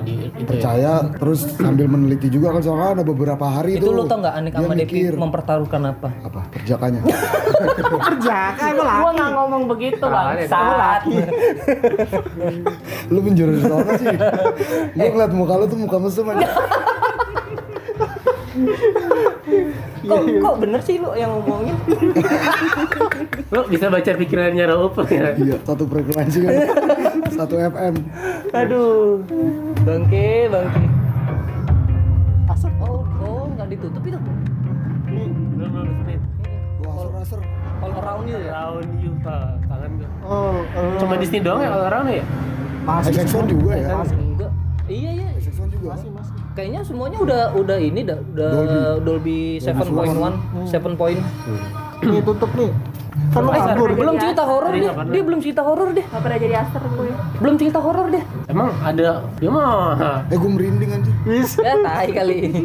nggak di- itu ya. percaya terus sambil meneliti juga kan soalnya ada beberapa hari Itu tuh lu tau gak Anik dia sama Devi mikir, mempertaruhkan apa? apa perjakannya Perjaka, gue Gua laki nggak ngomong begitu Parah, bang. ya. Saat. lu menjurus apa sih gua ngeliat muka lu tuh muka mesum aja Kok, kok bener sih lu yang ngomongin? Lo bisa baca pikirannya Raup ya. iya satu frekuensi kan satu FM Aduh. Bangke, bangke. Asap. Oh, oh nggak ditutup itu. Belum belum split. Wah, aser-aser. All around you ya. Round you Pak. tangan gue. Oh, eh, Cuma di sini doang ya all around ya? masih Exxon juga ya Enggak. Iya iya. Exxon juga Kayaknya semuanya udah udah ini dah, udah Dolby, 7.1, 7 point. Nih, tutup nih Kan lu Eh, kabur belum cerita horor deh. Dia belum cerita horor deh. Gak pernah jadi aster gue. Belum cerita horor deh. Emang ada dia mah eh gua merinding anjir Wis Ya tai kali ini.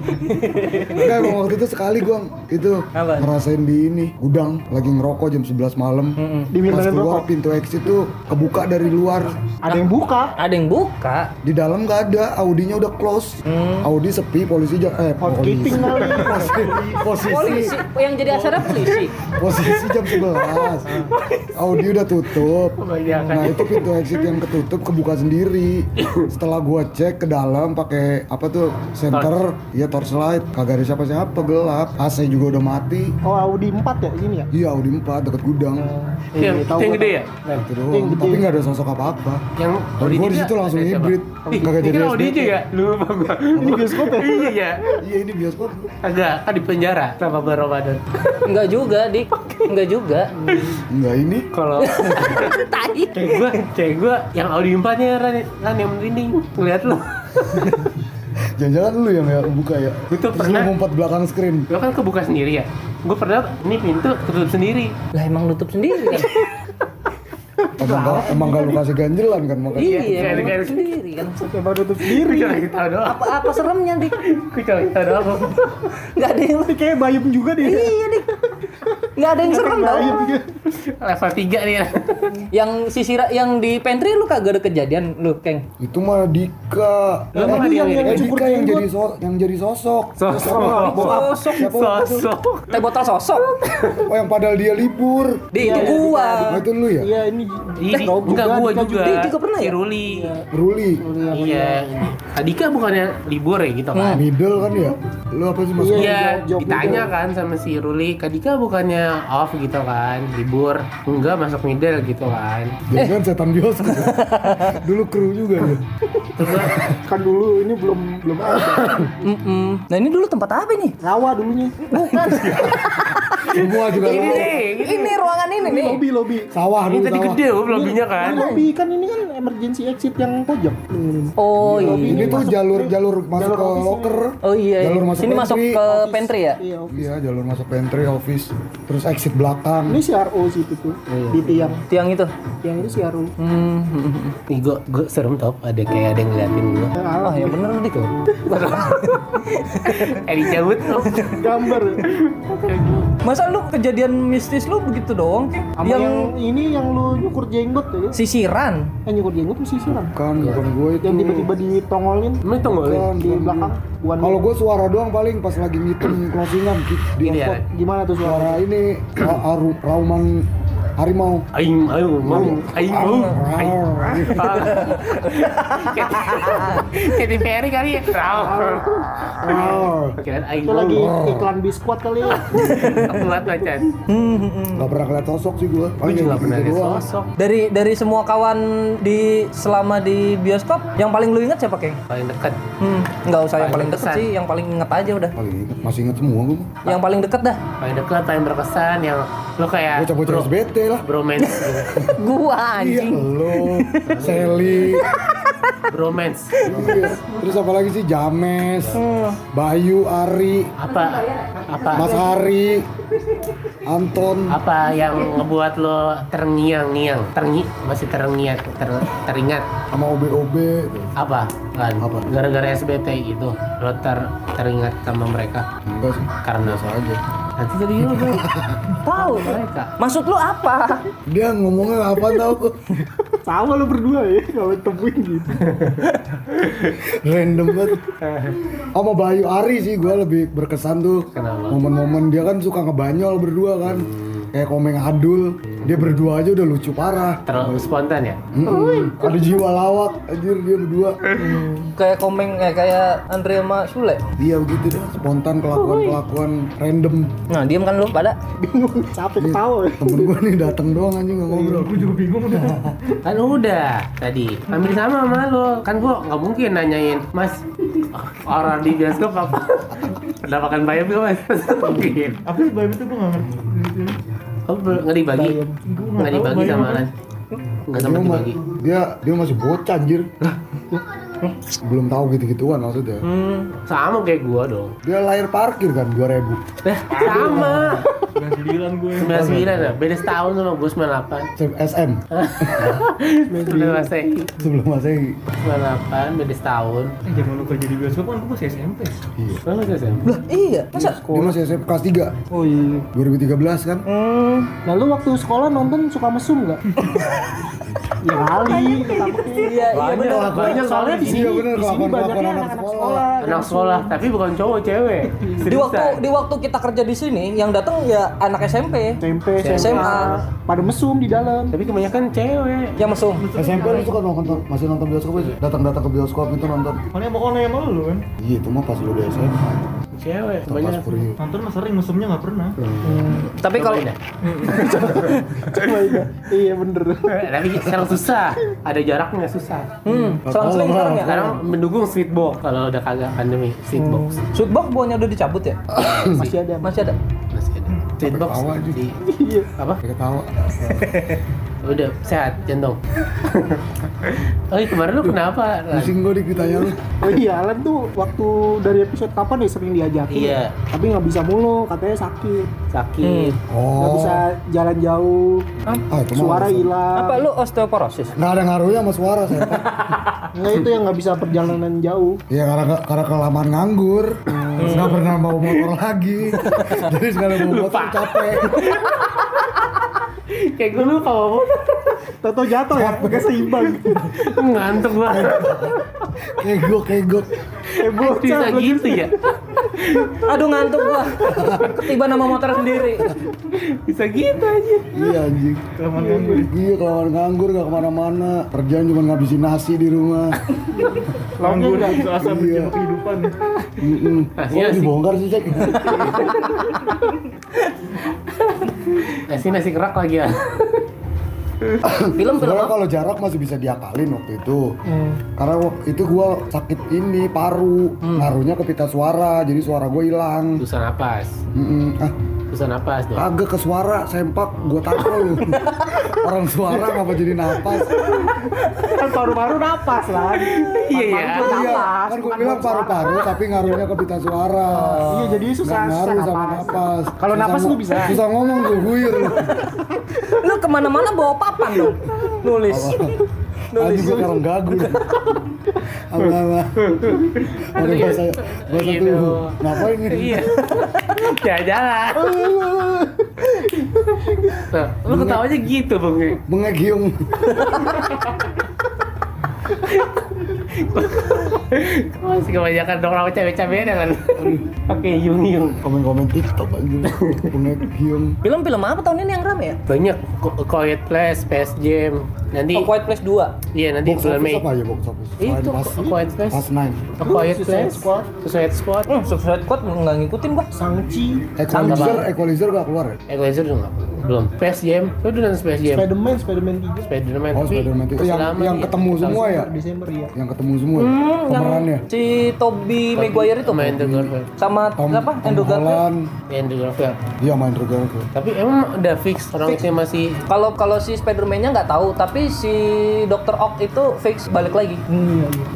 Enggak, emang waktu itu sekali gua itu Apa? ngerasain di ini gudang lagi ngerokok jam 11 malam pas Dimintain keluar rokok. pintu exit tuh kebuka dari luar Ada yang buka Ada yang buka. di dalam nggak ada Audinya udah close Audi sepi polisi ja- eh polisi Oh, iya. Housekeeping kali posisi Polisi yang jadi asalnya polisi. posisi jam 11 kelas. Audio udah tutup. Kebanyakan. Nah itu pintu exit yang ketutup kebuka sendiri. Setelah gua cek ke dalam pakai apa tuh senter, ya torchlight, kagak ada siapa-siapa gelap. AC juga udah mati. Oh Audi 4 ya ini ya? Iya Audi 4 deket gudang. Eh, yang, tahu yang gua gede tahu. ya? Itu Gitu doang. Tapi nggak ada sosok apa-apa. Yang Kalau ODJ gua di nggak? situ langsung Ada Eh, siapa? hibrid. Ih, Kagak ini jadi kan SD. ODJ ya? Lupa gua. Ini bioskop ya? Iya, iya. Iya ini bioskop. Agak, kan di penjara sama Bang Ramadan. Enggak juga, Dik. Enggak juga. Enggak ini. Kalau cewek gua, cewek gua yang Audi 4-nya Ran, Ran yang merinding. Ngeliat lu. Jangan-jangan lu yang ya buka ya. Itu Terus lu pernah. ngumpet belakang screen. Lo kan kebuka sendiri ya? Gua pernah, ini pintu ketutup sendiri. Lah emang nutup sendiri kan? Emang gak, emang gak lu kasih ganjelan kan makanya. iya, iya, emang iya. nutup sendiri kan. Coba tutup Gua sendiri. Iya. cuma kita doang. Apa apa seremnya, Dik? Gua cuma kita doang. Enggak ada yang Kayak bayam juga deh. Kan Iya, Dik. Enggak ada yang serem tau. Level 3 nih. Ran. Yang sisir yang di pantry lu kagak ada kejadian lu, Keng. Itu mah Dika. Lu Eh, mah yang, dia- yang, dia- Dika yang jadi so- yang jadi sosok. Sosok. Bokap. Siapa waktu itu? Sosok. Teh botol sosok. Oh yang padahal dia libur. Di itu gua. Oh, itu lu ya? Iya ini Ini Rob enggak juga, gua Dika juga. Dia juga pernah Si ya? Ruli. Ruli. Iya. Adika bukannya libur ya gitu kan? Middle kan ya? Lu apa sih maksudnya? Iya, job ditanya kan sama si Ruli, Kadika bukannya off gitu kan, libur, enggak masuk middle gitu kan. Jangan setan bioskop. Dulu kru juga dia. kan dulu ini belum belum ada. Mm-mm. Nah, ini dulu tempat apa nih? Rawa dulunya. Semua juga Ini lu. nih, Ini ruangan Iya, ini nih. Lobi lobi. Sawah ini dulu tadi sawah. gede loh lobbynya kan. Ini Lobi kan ini kan emergency exit yang pojok. Hmm. Oh iya. Ini tuh jalur jalur masuk ke office locker. Oh iya. Jalur masuk Sini masuk pantry. ke pantry ya? Iya. Iya, jalur masuk pantry, office, terus exit belakang. Ini CRO situ tuh di tiang. Tiang itu. Yang ini CRO. Hmm. Nih gue gue serem top, ada kayak ada yang ngeliatin gue. Ah, ya bener dik loh. Eh dicabut tuh. Gambar. Masa lu kejadian mistis lu begitu doang? Ki? Sama yang, yang ini yang lu nyukur jenggot ya. sisiran. Eh nyukur jenggot tuh sisiran. Bukan, Kan, bukan gue itu. Kan, Yang tiba-tiba ditongolin Lu itu nggak boleh. Bukan, di bukan gue. belakang. Buan Kalau gue suara doang paling pas lagi ngitung closingan di, di Gini ya. ospot. gimana tuh suara? Suara ini ra- aru, rauman harimau. Aing, aing, mau, aing, mau, aing. Kayak di Ferry kali ya. Rawr. Kirain aing Itu mau. lagi iklan biskuat kali ya. Kuat macan. Gak pernah ngeliat sosok sih gue. Gue Paling juga kayak pernah gitu lihat doang. sosok. Dari dari semua kawan di selama di bioskop, yang paling lu inget siapa Keng? Paling dekat. Hmm, nggak usah yang paling Paling deket berkesan. sih, yang paling inget aja udah. Paling inget, masih inget semua gue. Eh, Yang paling deket dah. paling dekat paling berkesan yang lo kayak Bocah-bocah bro, SBT lah. bromance gitu. Gua Iya, anjing. lo, Sally, bromance Iya. terus apa lagi sih James, Hmm. Bayu, Ari, apa apa Mas Hari, Anton, apa yang ngebuat lo terngiang-ngiang terngi masih terngiang ter, teringat sama OB-OB. apa kan Apa? gara-gara SBT gitu lo ter teringat sama mereka Enggak sih, karena biasa aja. nanti jadi lo bro Tahu. mereka Maksud lu apa? Dia ngomongnya apa tau? Sama lu berdua ya kalau temuin gitu. Random banget. Sama Bayu Ari sih gue lebih berkesan tuh. Kenapa? Momen-momen dia kan suka ngebanyol berdua kan. Kayak komeng adul. Dia berdua aja udah lucu parah. terlalu spontan ya Mm-mm. Ada jiwa lawak anjir dia berdua. Kayak komeng eh, kayak Andre sama Sule. Dia Iya, begitu deh, spontan kelakuan-kelakuan random. Nah, diam kan lu pada. Bingung, capek ketawa. Temen gue nih dateng doang anjing nggak ngobrol. kan udah tadi hampir sama sama lo kan gua nggak mungkin nanyain mas orang di bioskop apa kenapa kan bayam gak mas mungkin Apa sih bayam itu gue nggak ngerti. oh, bel- nggak dibagi Gua nggak nggak tahu dibagi bayam sama apa. Alan nggak Dia, sama ma- dibagi dia dia masih bocah anjir. Belum tahu gitu-gituan maksudnya. hmm, sama kayak gua dong Dia lahir parkir kan 2000. Eh, sama Sembilan gue. 99 lah beda setahun sama gua 98 SM sebelum masih sebelum masih 98 beda setahun Eh, Zaman lu kerja di bioskop kan gue masih SMP. iya. lo nggak sih Lah, iya. Masa? Dia masih SMP kelas 3 Oh iya. 2013 kan? Hmm, Nah lu waktu sekolah nonton suka mesum nggak? ya kali. iya, iya bener. banyak soalnya di sini Iya, bener, di sini kelakuan-kelakuan banyaknya anak anak-anak sekolah. sekolah. gitu. anak sekolah tapi bukan cowok cewek Di waktu Seriusan. di waktu kita kerja di sini yang datang ya anak SMP, SMP, SMA. SMA, pada mesum di dalam. tapi kebanyakan cewek yang masuk. SMP lu suka nonton masih nonton bioskop aja datang-datang ke bioskop itu nonton Mana yang mau online sama lu kan? iya itu mah pas lu di SMA cewek Atau pas banyak kuliah Nonton mah sering, mesumnya nggak pernah. Tapi kalau Cobain dah. Coba iya. iya bener. tapi sekarang susah ada jaraknya susah hmm, selang-seling Nggak sekarang ya. sekarang mendukung sweet box Hmm. kalau udah kagak pandemi sweet box Shootbox buahnya udah dicabut ya? Masih ada. Masih ada. masih ada sweet box Ketawa, Ji. di Iya. apa ketawa udah sehat jantung oh kemarin lu kenapa Lan? pusing gue dikitanya lu Oh iya, Alan tuh waktu dari episode kapan ya sering diajakin. Iya. Tapi nggak bisa mulu, katanya sakit. sakit Nggak oh bisa jalan jauh. ah, itu mah Suara alasan. hilang. Apa lu osteoporosis? nggak ada ngaruhnya sama suara saya Pak. Nggak itu yang nggak bisa perjalanan jauh. Iya karena karena kelamaan nganggur, Hmm. nggak pernah mau motor lagi, jadi sekarang mau motor capek. Hmm. kayak gue lupa mau Tato jatuh ya, pakai seimbang. ngantuk banget Kegok kegok. Eh bocah, bisa lagi gitu ya Aduh ngantuk gua. Ketiban sama motor sendiri. bisa gitu aja Iya anjing. Kelamaan nganggur. Iya kelamaan nganggur nggak kemana-mana, kerjaan cuma ngabisin nasi di rumah. Nganggur, susah Iya. berjemur kehidupan. Mm-mm. Iya Kok sih. dibongkar sih cek? nasi nasi kerak lagi ya Film film Sebenarnya apa? Hmm. kalau jarak masih bisa diakalin waktu itu. Karena waktu itu gua sakit ini paru, Hmm. ngaruhnya ke pita suara, jadi suara gua hilang. susah napas Mm-mm. Ah, susah napas dong Kagak ke suara, sempak, gua tampol lu. Orang suara ngapa jadi napas? kan paru-paru napas lah. Iya, Paru-paru iya. tuh napas, kan gue bukan bilang buat suara. paru-paru tapi ngaruhnya ke pita suara. Iya, jadi susah- Nggak ngaruh susah sama napas. napas. Kalau Susah napas ngo- lu bisa. Susah ngomong gue guyur. Lu kemana-mana bawa papan dong. Nulis. Anjing gue sekarang gagu. nih. Apa apa? Ada iya. bahasa bahasa Gitu. tubuh. Ngapain ini? iya Ya, jalan-jalan Tuh, lu ketawanya gitu bang Mengegiung. masih kebanyakan dong orang cewek-cewek kan pakai yung-yung Komen-komen TikTok anjing. Mengegiung. Film-film apa tahun ini yang rame ya? banyak Ko- Quiet Place, Space Jam nanti Oh, Quiet Place 2. iya nanti Box bulan office Mei apa ya box office? Itu, Pas- Quiet Place. Pas 9. A Quiet Place, Squad. Suicide Squad Hmm, Suicide Squad nggak ngikutin gua. Sangchi, Equalizer, Equalizer gak keluar ya? Equalizer Eh, juga nggak? belum Space Jam, lu udah nonton Space Jam? Spiderman, Spiderman 3 Spiderman Eh, Oh, tapi Spider-Man itu yang, selama yang nih, ketemu semua ya? Desember ya. Yang ketemu semua ya? Hmm, yang Pemerannya? si Toby Maguire itu main The Garfield sama Tom, apa? Tom Andrew Garfield. Holland. yang The Garfield Iya main Andrew Garfield. tapi emang udah fix orang itu masih Kalau kalau si Spider-Man-nya nggak tahu, tapi si Dr. Ock itu fix balik lagi.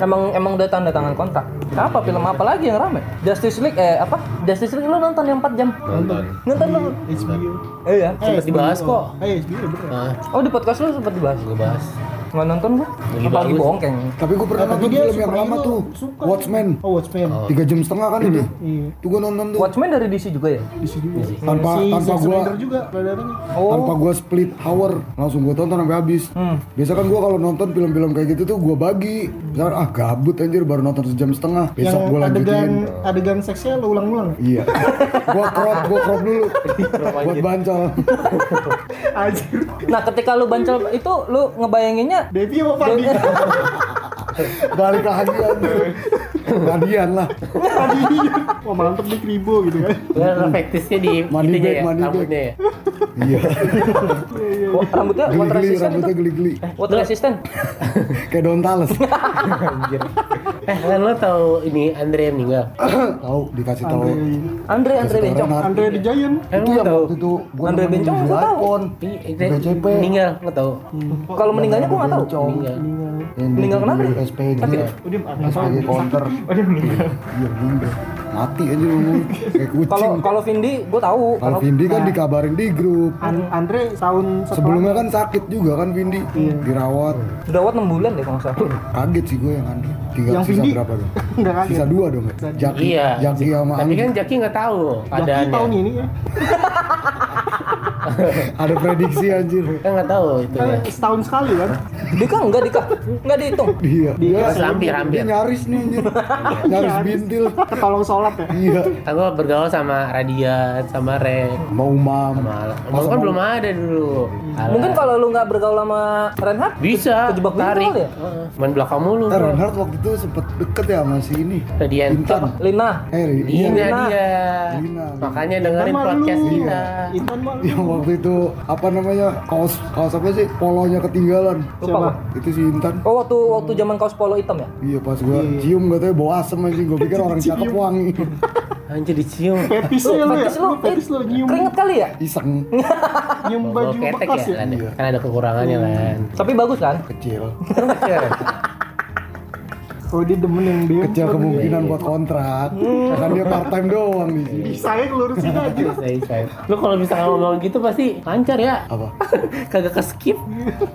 Emang emang udah tanda tangan kontrak. Apa film apa lagi yang rame? Justice League eh apa? Justice League lu nonton yang 4 jam. nonton Nonton lu. HBO. Iya. Eh ya. Sempet dibahas kok. Eh, HBO bener. nah, Oh di podcast lu sempat dibahas. gue bahas Nggak nonton gua. Lagi Apalagi bagus. bongkeng. Tapi gue pernah nonton film yang lama tuh, Watchmen. Oh, Watchmen. Tiga jam setengah kan itu? Iya, Itu gue nonton tuh. Watchmen dari DC juga ya? di sini juga. Tanpa- si tanpa Zack gua- Snyder juga saudaranya. Tanpa gue split hour, langsung gue tonton sampai habis. Biasa kan gue kalau nonton film-film kayak gitu tuh gue bagi. Misalkan ah gabut anjir baru nonton sejam setengah, besok gue Yang adegan lanjutin. adegan seksnya lo ulang-ulang. Iya. gue crop, gue crop dulu. iya. Buat bancol. Anjir. Nah, ketika lu bancel itu lu ngebayanginnya Devi apa Fadi? Balik lagi anjir. Radian lah. Fadi. Wah, mantep nih kribo gitu kan. Gue praktisnya di Money itunya back, ya, money back. rambutnya ya Iya. wa- rambutnya water Geli-geli, resistant itu. rambutnya geli-geli. Water resistant. Kayak Dontales. Eh, kan lo tau ini Andre yang meninggal? Tahu dikasih tahu. Andre Andre Dikasih tahu Bencong. Renat. Andre the Giant. Kan itu lo yang tau? waktu itu gua Andre nemenin Bencong di aku tahu. Icon. Iya, BCP. meninggal, lo tau? Kalau meninggalnya gua nggak tahu. Bencong. Meninggal. Yang di- Meninggal kenapa? di SPG Oh, dia ada SPG counter Oh, dia meninggal. iya meninggal mati aja ngomong kayak kucing Kalau Nah. kalau Vindi gua tahu. kalau Vindi kan dikabarin di grup An- Andre tahun Iya. sebelumnya kan sakit juga kan Vindi Iya. dirawat Jerawat 6 bulan deh kalau nggak salah. kaget sih gue yang Andre tiga Yang sisa Vindi? berapa dong enggak kaget. sisa dua dong ya? Jaki Iya, Jaki sama tapi Anggi kan Jaki nggak tahu Jaki tahun ya. keadaannya. ini ya. Ada prediksi anjir. Kan nggak tahu itu ya. Kan setahun sekali kan Dika enggak Dika enggak dihitung. Iya. Dia. dia Hampir Dia hampir. nyaris nih anjir. Nyaris bintil. ketolong sholat ya Iya. Aku bergaul sama Radian, sama Rek, Mau mam. sama Emang kan belum ada dulu. Alah. Mungkin kalau lu nggak bergaul sama Renhard bisa kejebak tarik. bintil ya? Heeh. Main belakang mulu. Eh, Reinhardt waktu itu sempet deket ya sama si ini. Radian. Intan. Lina. Eh, Ini iya. dia. Lina. Makanya dengerin podcast Iya. kita. Iya. Intan Kan malu Yang waktu itu apa namanya kaos kaos apa sih polonya ketinggalan Lupa gua. itu si Intan Oh waktu waktu zaman kaos polo hitam ya? iya pas gua cium katanya bau asem aja gua pikir orang cakep wangi Anjir dicium. fetis lu ya lu ya Fetis lu, eh, Lu fetis lu nyium Keringet kali ya? iseng nyium Bawa baju ketek bekas ya, ya Lan, ya? Kan ada Iya. kekurangannya, Lan. Tapi bagus kan? kecil oh dia demen yang dia kecil kemungkinan buat kontrak kan dia part time doang di sini saya ngelurusin aja Say, say. Iya, Lu kalau bisa ngomong gitu pasti lancar ya. apa Kagak ke skip.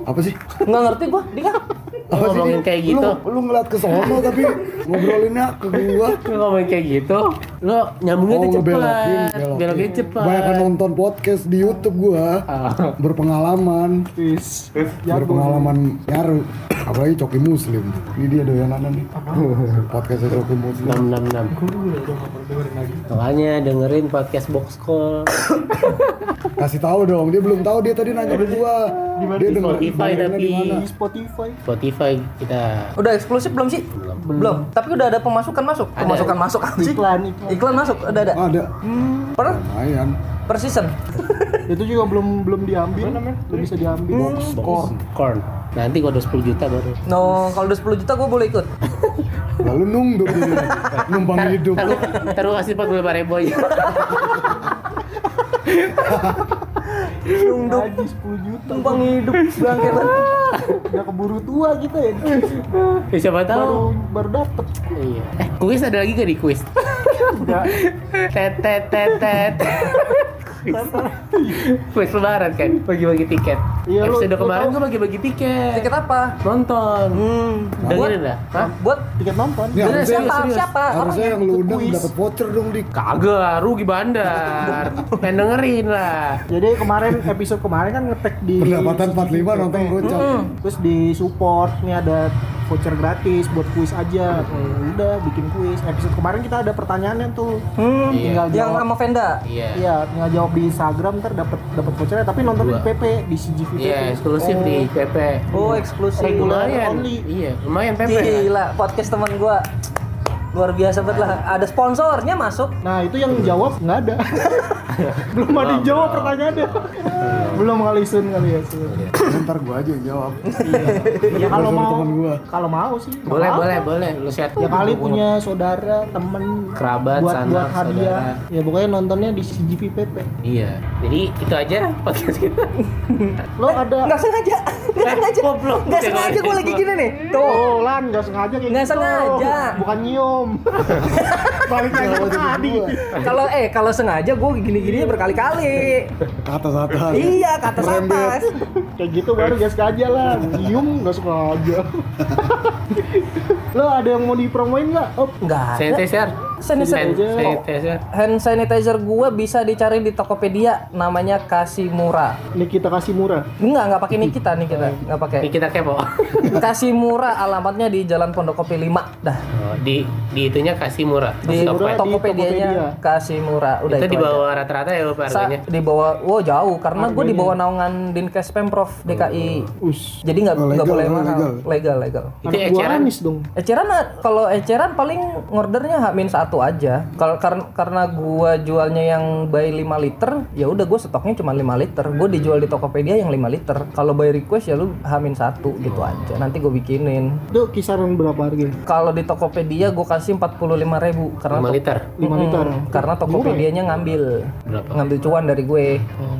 apa sih Nggak ngerti gua, Dika. apa sih Ngomongin Din? kayak gitu. lu, lu ngeliat ke sono tapi ngobrolinnya ke gua Oh, Lu ngomong kayak gitu, lu nyambungnya tuh ngebelokin, cepat. Belokin cepat. Banyakan nonton podcast di YouTube gua. Ah. Berpengalaman, Fis. berpengalaman nyaru. Apalagi Coki Muslim. Ini dia doyanan nih. Podcastnya Coki Muslim. 666. Makanya dengerin podcast box call. Kasih tahu dong, dia belum tahu dia tadi nanya ke gua. Dia Di denger Spotify dengerinnya tapi. Iya, di mana. di Spotify Spotify kita Udah eksklusif belum sih? Belum. Tapi udah ada pemasukan masuk. Pemasukan masuk. iklan iklan Iklan masuk, udah ada. Ah, ada. Hmm. Per Lumayan. per season. itu juga belum belum diambil belum bisa diambil Skor. Corn. Nanti gua udah 10 juta baru. No, kalau udah 10 juta gua boleh ikut. Lalu nunduk dia. Numpang hidup. Taruh, taruh kasih 45 ribu aja. Nunduk lagi 10 juta tumpang hidup bangke udah keburu tua kita ya Ya, siapa tahu. baru baru dapet Iya. Eh, kuis ada lagi gak di kuis? udah tet tet tet tet. Kuis. Kuis lebaran kan, bagi-bagi tiket. Iya, lu- Episode lu kemarin tahu. gua bagi-bagi tiket. Tiket apa? Nonton. Hmm. Dengerin dah. Hah? Buat tiket nonton Ya, Bener, harusnya, siapa? serius. Siapa? harusnya yang lu undang kuis. dapat voucher dong, Dik. Kagak, rugi bandar. Pengen dengerin lah. jadi kemarin episode kemarin kan ngetek di Pendapatan 45 nonton gocap. terus di support nih ada voucher gratis buat kuis aja udah bikin kuis episode kemarin kita ada pertanyaannya tuh Hmm. tinggal Yang jawab sama Venda. Iya. iya tinggal jawab di Instagram ntar dapat dapat vouchernya tapi nonton di Dua. PP di CGV PP Iya, eksklusif Oh. di PP. Oh, eksklusif. Regular only. Iya. Iya, lumayan PP. lah. Gila, podcast teman gua luar biasa banget lah. Ada sponsornya masuk. nah itu yang jawab nggak ada belum ada yang jawab pertanyaannya belum kali sun kali ya Sun. Iya, Eh, Ntar gua aja yang jawab. Iya, ya kalau Sama mau teman gua. kalau mau sih nggak Boleh, apa-apa. boleh, boleh. Lu share. ya kali punya saudara temen Kerabat, buat sanak, buat hadiah saudara. ya pokoknya nontonnya di CGV PP Iya. Jadi itu aja podcast kita. lo ada Nggak sengaja. Nggak sengaja. goblok. Nggak sengaja gua lagi gini nih. Tuh. Oh, Lan, gak sengaja kayak Nggak gitu. sengaja. Bukan nyium. Balik lagi ke tadi. Kalau eh kalau sengaja gua gini-gini berkali-kali. Kata-kata. Iya, kata atas. Kayak gitu baru gak sengaja lah. Nyium gak sengaja. Lo ada yang mau dipromoin nggak? Oh, Enggak. Sanitizer. Sanitizer. San- Sanitizer. Hand sanitizer gua bisa dicari di Tokopedia namanya Kasimura. ini kita kasih murah. Enggak, enggak pakai Nikita nih kita, enggak pakai. Ini kita kepo. Kasimura alamatnya di Jalan Pondokopi 5 dah. Oh, di di itunya kasih murah. Di Stop Murah aja. di Tokopedia-nya Tokopedia. Kasimura udah itu, itu, di aja. bawah rata-rata ya Pak, Sa- harganya. di bawah wow jauh karena gue di bawah naungan Dinkes Pemprov DKI Us. jadi nggak Oh, nggak legal, boleh oh, mahal legal. legal legal Itu Anak buah eceran. Anis dong. Eceran ah, kalau eceran paling ordernya hamin satu aja. Kalau karena karena gua jualnya yang by 5 liter, ya udah gua stoknya cuma 5 liter. Gua dijual di Tokopedia yang 5 liter. Kalau by request ya lu hamin satu gitu aja. Nanti gua bikinin. Itu kisaran berapa harganya? Kalau di Tokopedia gua kasih 45.000 karena 5 to- liter. 5 liter. karena Tokopedianya ngambil Berapa? ngambil cuan dari gue.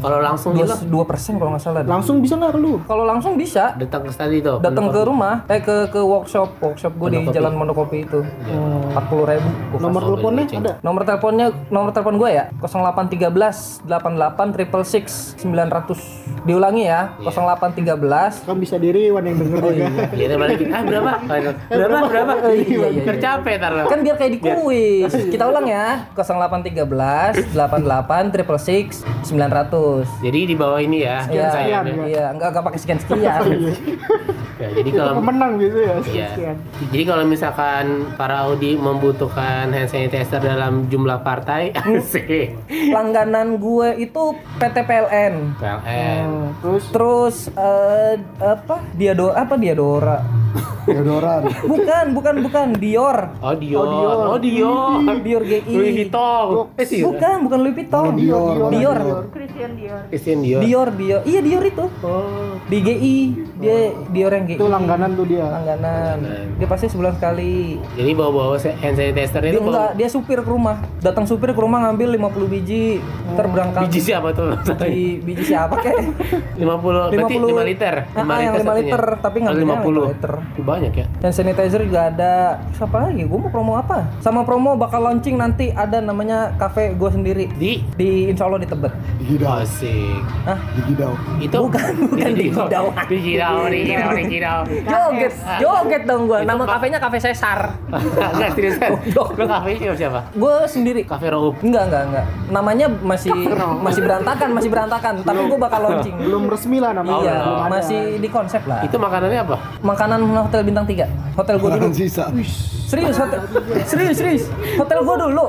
Kalau langsung Dua, di lo, dua persen kalau nggak salah. Langsung bisa nggak ke lu? Kalau langsung bisa datang ke tadi tuh. datang ke rumah eh ke ke workshop workshop gue di Pondokopi. Jalan Monokopi itu. 40.000 gua Nomor nomor teleponnya ada Nomor teleponnya nomor telepon gue ya 0813 88 triple six 900 diulangi ya 0813 kan bisa diri wan yang denger ya kan? juga Iya, dia balikin. Ah, berapa? Berapa? Berapa? Iya, iya, iya. Capek ntar lo. kan biar kayak di kuis kita ulang ya 0813 88 triple six 900 Jadi di bawah ini ya. Iya, iya, sayangnya. iya, enggak enggak pakai sekian sekian. Ya, jadi itu kalau pemenang gitu ya Iya. sekian. Jadi kalau misalkan para Audi membutuhkan hand sanitizer dalam jumlah partai, asik. Langganan gue itu PT PLN. PLN. terus Terus eh, apa? Diadora apa Diadora? Ya Deodoran. Bukan, bukan, bukan Dior. Oh Dior, oh Dior, Dior GI. Louis Vuitton, eh sih, Bukan, bukan Louis Vuitton. Oh, Dior. Dior. Christian Dior. Christian Dior. Dior, Dior. Iya, Dior itu. Oh, Di GI, dia Dior yang GI. itu langganan tuh dia langganan. Dia pasti sebulan sekali. jadi bawa-bawa se- hand sanitizer Dia itu bawa enggak, dia supir ke rumah. Datang supir ke rumah ngambil 50 biji. Ntar berangkat. biji siapa tuh? Biji, biji siapa kek? 50, berarti 50. 5 liter. Ah, ah, yang lima satunya. liter, tapi Oh, ngambilnya 50. lima liter. Itu Banyak ya. Dan sanitizer juga ada. Siapa lagi? Gue mau promo apa? Sama promo bakal launching nanti ada namanya cafe gue sendiri Di di Insya Allah di Tebet. Di Gidau. asik. Hah? Di Gidau. Itu bukan, bukan di Kidau. Di Kidau, di Kidau, di Kidau. Joget, joget dong gue. Nama kafenya Cafe Cesar. Enggak seriusan. Lu kafe siapa siapa? Gue sendiri. Kafe Raup. Enggak, enggak, enggak. Namanya masih masih berantakan, masih berantakan. Tapi gue bakal launching. belum resmi lah namanya Iya, belum ada. masih di konsep lah. Itu makanannya apa? Makanan hotel bintang 3 Hotel gue dulu. Makanan sisa. Serius, hotel, serius, serius. Hotel gue dulu.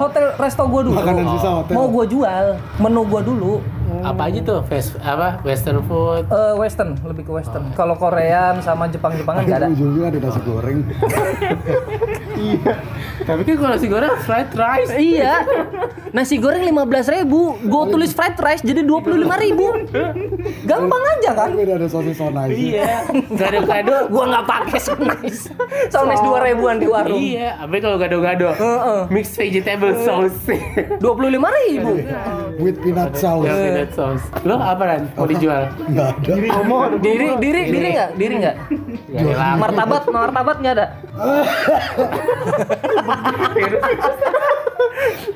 Hotel resto gue dulu. Makanan sisa hotel. Mau gue jual menu gue dulu. Apa aja tuh? Fast apa? Western food. eh, Western, lebih ke Western. Kalau Korean sama Jepang-Jepangan nggak ada. Tapi ujungnya ada nasi goreng. iya Tapi kan kalau nasi goreng fried rice. Iya, nasi goreng 15.000 ribu, gue tulis fried rice jadi 25.000 ribu. Gampang aja kan? Tapi udah ada sosis so nice. Iya. Gado gado. Gue nggak pakai sonis, sonis dua ribuan di warung. Oh, Iya. Apa kalau gado gado? Heeh. Mixed vegetable sauce. Dua ribu. With peanut Ya, Iya. sauce. peanut sauce. Lo apa Ran? Mau dijual? Nggak ada. Diri, diri, diri nggak? Diri nggak? Ya, Iya. elah. Martabat, martabat nggak ada.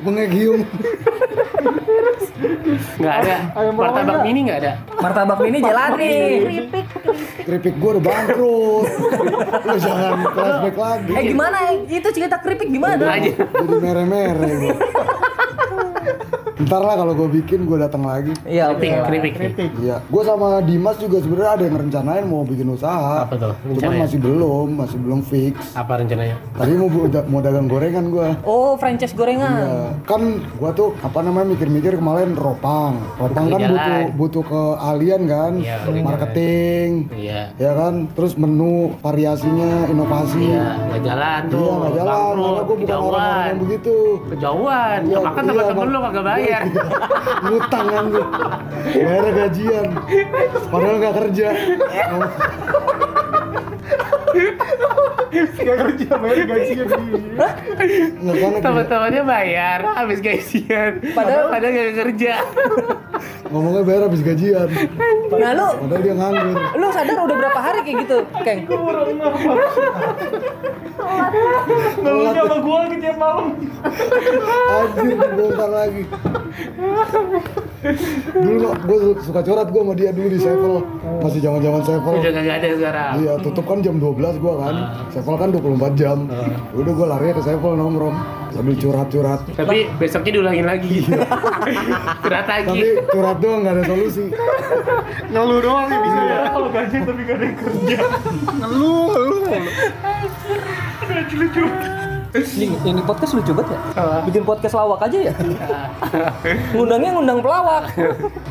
Mengegium. Nggak ada. Martabak mini nggak ada. Martabak ini jalani. Keripik, Keripik gue udah bangkrut. Lu jangan flashback lagi. Eh gimana? Itu cerita keripik gimana? Aja. Jadi mere-mere gue. Ntar lah kalau gue bikin gue datang lagi. Iya, oke. Keripik, keripik. Iya, gue sama Dimas juga sebenarnya ada yang rencanain mau bikin usaha. Apa tuh Cuman rencananya? masih belum, masih belum fix. Apa rencananya? Tadi mau bu- mau dagang gorengan gue. Oh, franchise gorengan. Ya, kan gua tuh apa namanya mikir-mikir kemarin ropang. Ropang kan Jalan. butuh butuh keahlian kan, Iya, butuh marketing, Iya. ya kan. Terus menu variasinya, inovasi. Iya, nggak jalan Iya, tuh. nggak jalan. Karena Bangkrut, gue bukan orang kejauhan. yang begitu. Kejauhan. Iya, Makan iya, sama temen Bang. Iya, lo kagak bayar. Ngutang kan gue. Bayar gajian. Padahal nggak kerja. Gak kerja bayar gajinya gini Nggak kan kerja. Teman-temannya bayar habis gajian. Padahal padahal gak kerja. Ngomongnya bayar habis gajian. Nah, lu Padahal dia nganggur. lu sadar udah berapa hari kayak gitu, Keng? Kurang apa? Ngeluhnya sama gua gitu tiap malam. Anjir, dibongkar lagi. Dulu gue suka curhat gue sama dia dulu di Sevel. Masih zaman-zaman Sevel. Udah gak ada sekarang. Oh. Iya, tutup kan jam 12 gua kan. Sevel kan 24 jam. Udah gua larinya ke Sevel nongkrong sambil curhat-curhat. Tapi besoknya diulangin lagi. Curhat lagi. Iya. Tapi curhat doang nggak ada solusi. ngeluh doang ya bisa Iya, Kalau gajian tapi gak ada yang kerja. ngeluh ngeluh Ini, ini podcast lucu banget ya? Bikin podcast lawak aja ya? Nah. Ngundangnya ngundang pelawak.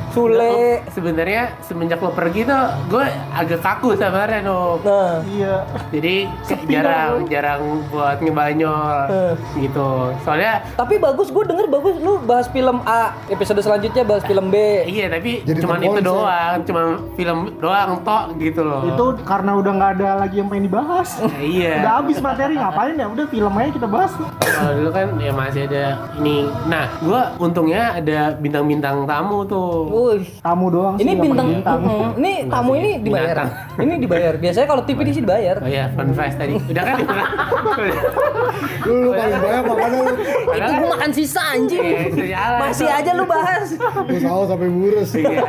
Sule. Sebenarnya semenjak lo pergi tuh gue agak kaku sama Reno. Nah, iya Jadi jarang jarang buat Eh. ngebanyol gitu. Soalnya tapi bagus gue denger bagus lu bahas film A, episode selanjutnya bahas film B. Iya tapi Jadi cuman itu terponsel. doang, cuman film doang tok gitu loh. ya? itu karena udah nggak ada lagi yang pengen dibahas Nah, iya. udah habis materi ngapain ya udah film aja kita bahas Kalau dulu kan ya masih ada ini. Nah, gua untungnya ada bintang-bintang tamu tuh. Wih. tamu doang sih, Ini yang bintang, bintang. Mm, ini tamu ini dibayar. Binatang. Ini dibayar. Biasanya kalau TV di sini dibayar. Oh iya, fun fast tadi. Udah kan? Lu, lu paling banyak makanya lu Itu kan gua makan sisa iya, anjing. Sejalan. Masih aja lu bahas. lu saus sampai burus. Iya.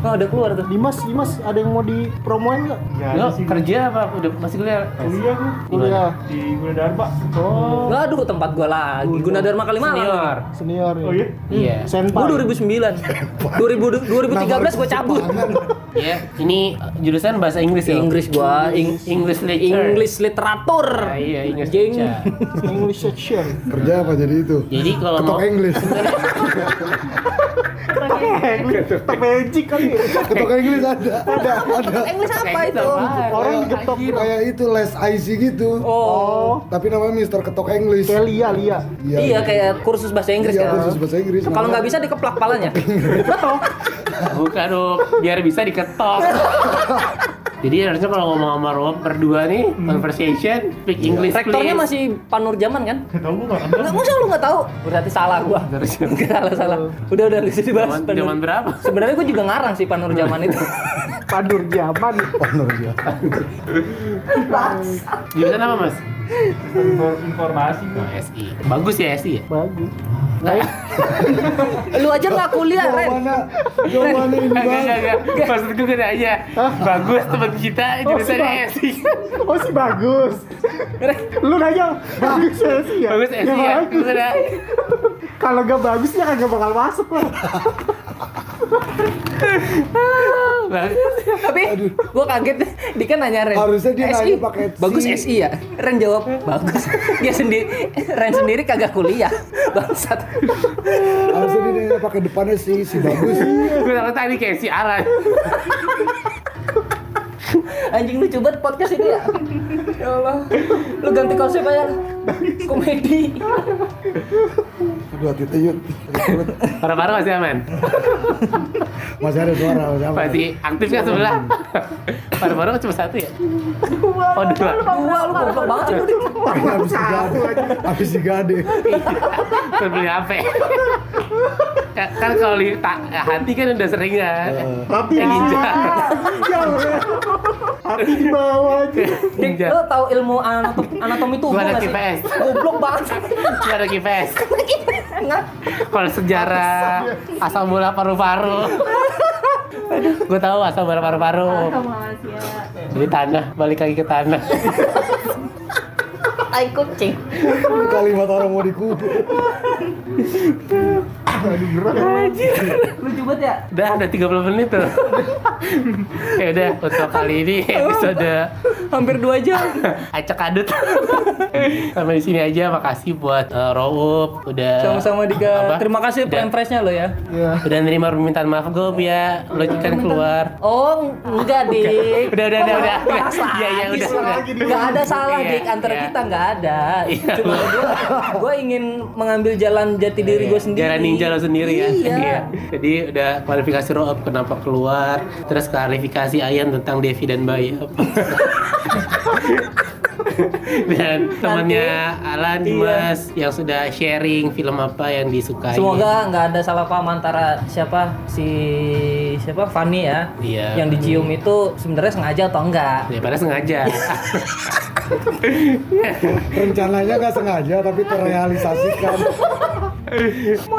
Oh, udah keluar tuh. Dimas, Dimas ada yang mau dipromoin nggak? Gak Lo ada sih kerja apa? Udah masih kuliah? Iya. kuliah gue Kuliah di Gunadarma. Oh. Aduh, tempat gua lagi. Gunadarma Kalimalang. Senior. senior ya. Oh iya. Iya. Gua Senpai. 2009. 2000 2013 gua cabut. Iya. Ini uh, jurusan bahasa Inggris ya. Inggris gua, Ing- English literature. English literatur. Ah, iya, English Jeng. literature. English section. Kerja apa jadi itu? Jadi kalau mau Ketok Inggris. Tetap magic kali. ya. Ketok Inggris ada. Eh. Ada, ada. English apa gitu, itu? Orang gitu. digetok Kayak itu les IC gitu. Oh. Tapi namanya Mister Ketok Inggris. kayak Lia, Lia. Iya, kayak kursus bahasa Inggris Iya, kan. kursus bahasa Inggris. Kalau nggak bisa dikeplak palanya. Betul. ya. buka dong, biar bisa diketok. Jadi harusnya kalau ngomong sama Rob berdua nih, conversation, speak English Hmm. Iya. Rektornya please. masih Panur Jaman kan? Gak tau gue gak kenal. Enggak, masa lu nggak tahu? Berarti salah gua. Nggak, salah salah. Udah udah nggak usah dibahas. Zaman, Panur. zaman berapa? Sebenarnya gua juga ngarang sih Panur Jaman itu. Padur zaman. Partner dia. Jurusan apa mas? Infor- informasi gue. SI. Bagus ya SI ya. Bagus. lu aja nggak kuliah, Ren. Jawabannya, jawabannya ini Enggak, enggak, banget. enggak. Maksud gue gak aja. Bagus teman kita jurusan sudah. SI. Oh sih bagus. Lu nanya bagus ya sih ya. Bagus SI Iya, ya. bagus. Sudah. Kalau nggak bagus ya kagak bakal masuk lah. Bagus. Tapi gua kaget dia kan nanya Ren. Harusnya dia nanya pakai C. Bagus SI ya. Ren jawab bagus. Dia sendiri Ren sendiri kagak kuliah. Bangsat. Harusnya dia nanya pakai depannya si si bagus. Gue takut tadi kayak si Alan. Anjing lu coba podcast ini ya. Ya Allah. Lu ganti konsep aja. Komedi. Aduh hati teyut. Paru-paru masih aman. Masih ada suara, masih apa? Masih aktif kan sebelah. Paru-paru cuma satu ya. Oh dua. Gua lu goblok banget sih, lu di Habis digade. Habis digade. Terbeli HP. Ka- kan kalau di ta- hati kan udah sering kan. Tapi Kayak ginjal. Ya Allah. Hati di bawah aja. Iya. Ginjal. Lo tau ilmu anatom, anatomi tubuh Gua anak nggak sih? IPS. Goblok banget. Gua ada kipes. Nggak. Kalau sejarah asam bola paru-paru. Gue tahu asam bola paru-paru. Malaysia. Jadi tanah balik lagi ke tanah. Tai kucing. Ini Kalimat orang mau dikubur. Lucu banget ya. Udah ada 30 menit tuh. ya udah untuk kali ini episode Hampir dua jam. Eh, acak adut sampai di sini aja makasih buat uh, Roup udah Sama-sama Dika. apa? Terima kasih Iya. udah, prime-press-nya lo ya. udah nerima permintaan maaf gue ya lo kan keluar Oh, enggak, Dik. udah udah udah udah Bahas ya ya lagi udah sih. Nggak ada salah, Iya, Dik. Antara iya. kita nggak ada. Iya. Cuma gua, gua ingin mengambil jalan jati diri gue sendiri. Jalan iya. ninja lo sendiri ya. Iya. Jadi udah klarifikasi Rob kenapa keluar, terus klarifikasi Ayan tentang Devi dan Bayap. dan temannya Alan Iya. Dimas yang sudah sharing film apa yang disukai. Semoga nggak ada salah paham antara siapa si siapa Fanny ya, Iya, yang dicium itu sebenarnya sengaja atau enggak? daripada Ya, sengaja. Rencananya nggak sengaja tapi terrealisasikan.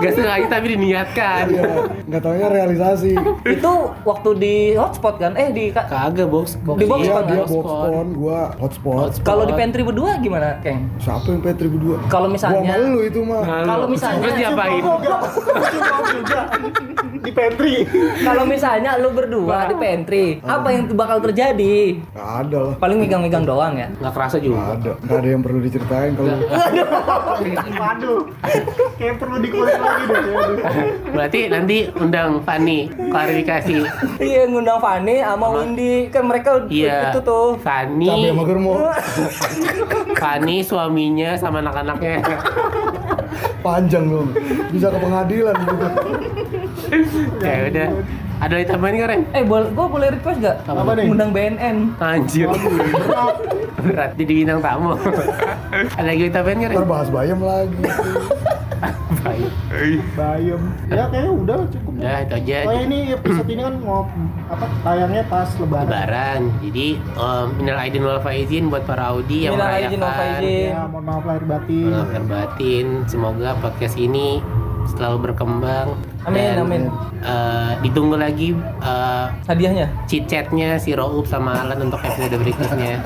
Gak sengaja tapi diniatkan. Iya. Nggak taunya realisasi. itu waktu di hotspot kan? Eh di ka- Kagak box Di box Iya Hotspot, dia box boxpon, gua hotspot. Hotspot. kalau di pantry berdua gimana, Keng? Siapa yang Petri berdua? Kalau misalnya- Gua malu itu mah. Malu. Kalau misalnya- terus diapain? Di pantry. Kalau misalnya lu berdua di pantry, apa yang bakal terjadi? Nggak ada lah. Paling megang-megang doang ya. Gak kerasa Nggak juga. ada. Nggak ada yang perlu diceritain kalau Waduh. Kayak perlu dikulik lagi deh. Berarti nanti undang Fanny klarifikasi. Iya, ngundang Fanny sama Windy kan mereka Iya. itu tuh. cabe Fanny, sama germo. Fanny suaminya sama anak-anaknya. Panjang dong. Bisa ke pengadilan gitu. ya udah. Ada yang tambahin nggak, Ren? Eh, bol gua boleh request gak? Apa nih? Ngundang BNN. Anjir. gitu. Berat jadi bintang tamu. Ada lagi yang tambahin nggak, Ntar Ren? bahas bayam lagi. Bayem. Ya kayaknya udah cukup. udah itu aja Oh ya ini episode ini kan mau apa tayangnya pas lebaran. lebaran jadi um, minal aidin wal faizin buat para Audi yang Minal aidin wal merayakan faizin. Ya, mohon maaf lahir batin. Maafkan batin semoga podcast ini selalu berkembang Amin, amin. eh, ditunggu lagi eh, Hadiahnya. chit-chatnya si Rauf sama Alan untuk episode berikutnya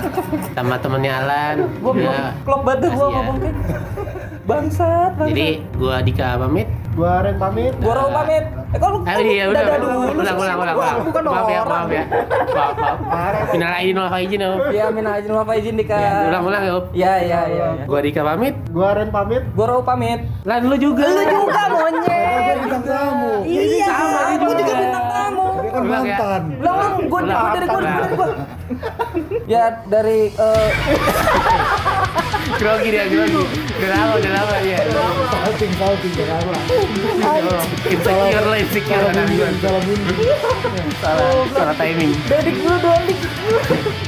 sama temennya Alan Gua belum ya. klop banget gua Kasih ya. ngomong kan. Bangsat, jadi bangsat. gua Dika pamit Gua Ren pamit. Gua Raul pamit. Eh kalau Ah, iya, udah, dadah udah, dulu. ulang, ulang, ulang, Gua ulang. Bukan Maaf ya, orang. maaf ya. Maaf, maaf. Minal aidin wal faizin, Om. Ya minal aidin wal faizin Dika. Ya, ulang-ulang, ya, Om. Ya, ya, ya. ya. Gua Dika pamit. Gua Ren pamit. Gua Raul pamit. Lan lu juga. Lu juga monyet. Bintang tamu. Iya, gua juga bintang tamu. Dia kan Ulang ya. mantan. Belum, belum, gua Ulang. gua dari gua dari gua. Ya dari eh, Grogi dia, grogi. Udah lama, udah lama ya. Salting, salting, kenapa? Insecure lah, insecure Salah anak bunyi, gua. salah bunyi. Salah, salah timing. dari gua dolik.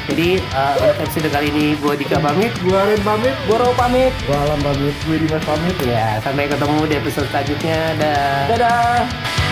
Jadi, eh, untuk episode kali ini gua Dika pamit. Gua Ren pamit. Gua Raul pamit. Gua alam pamit. Gue Dimas pamit. Ya, sampai ketemu di episode selanjutnya. Dah. Dadah.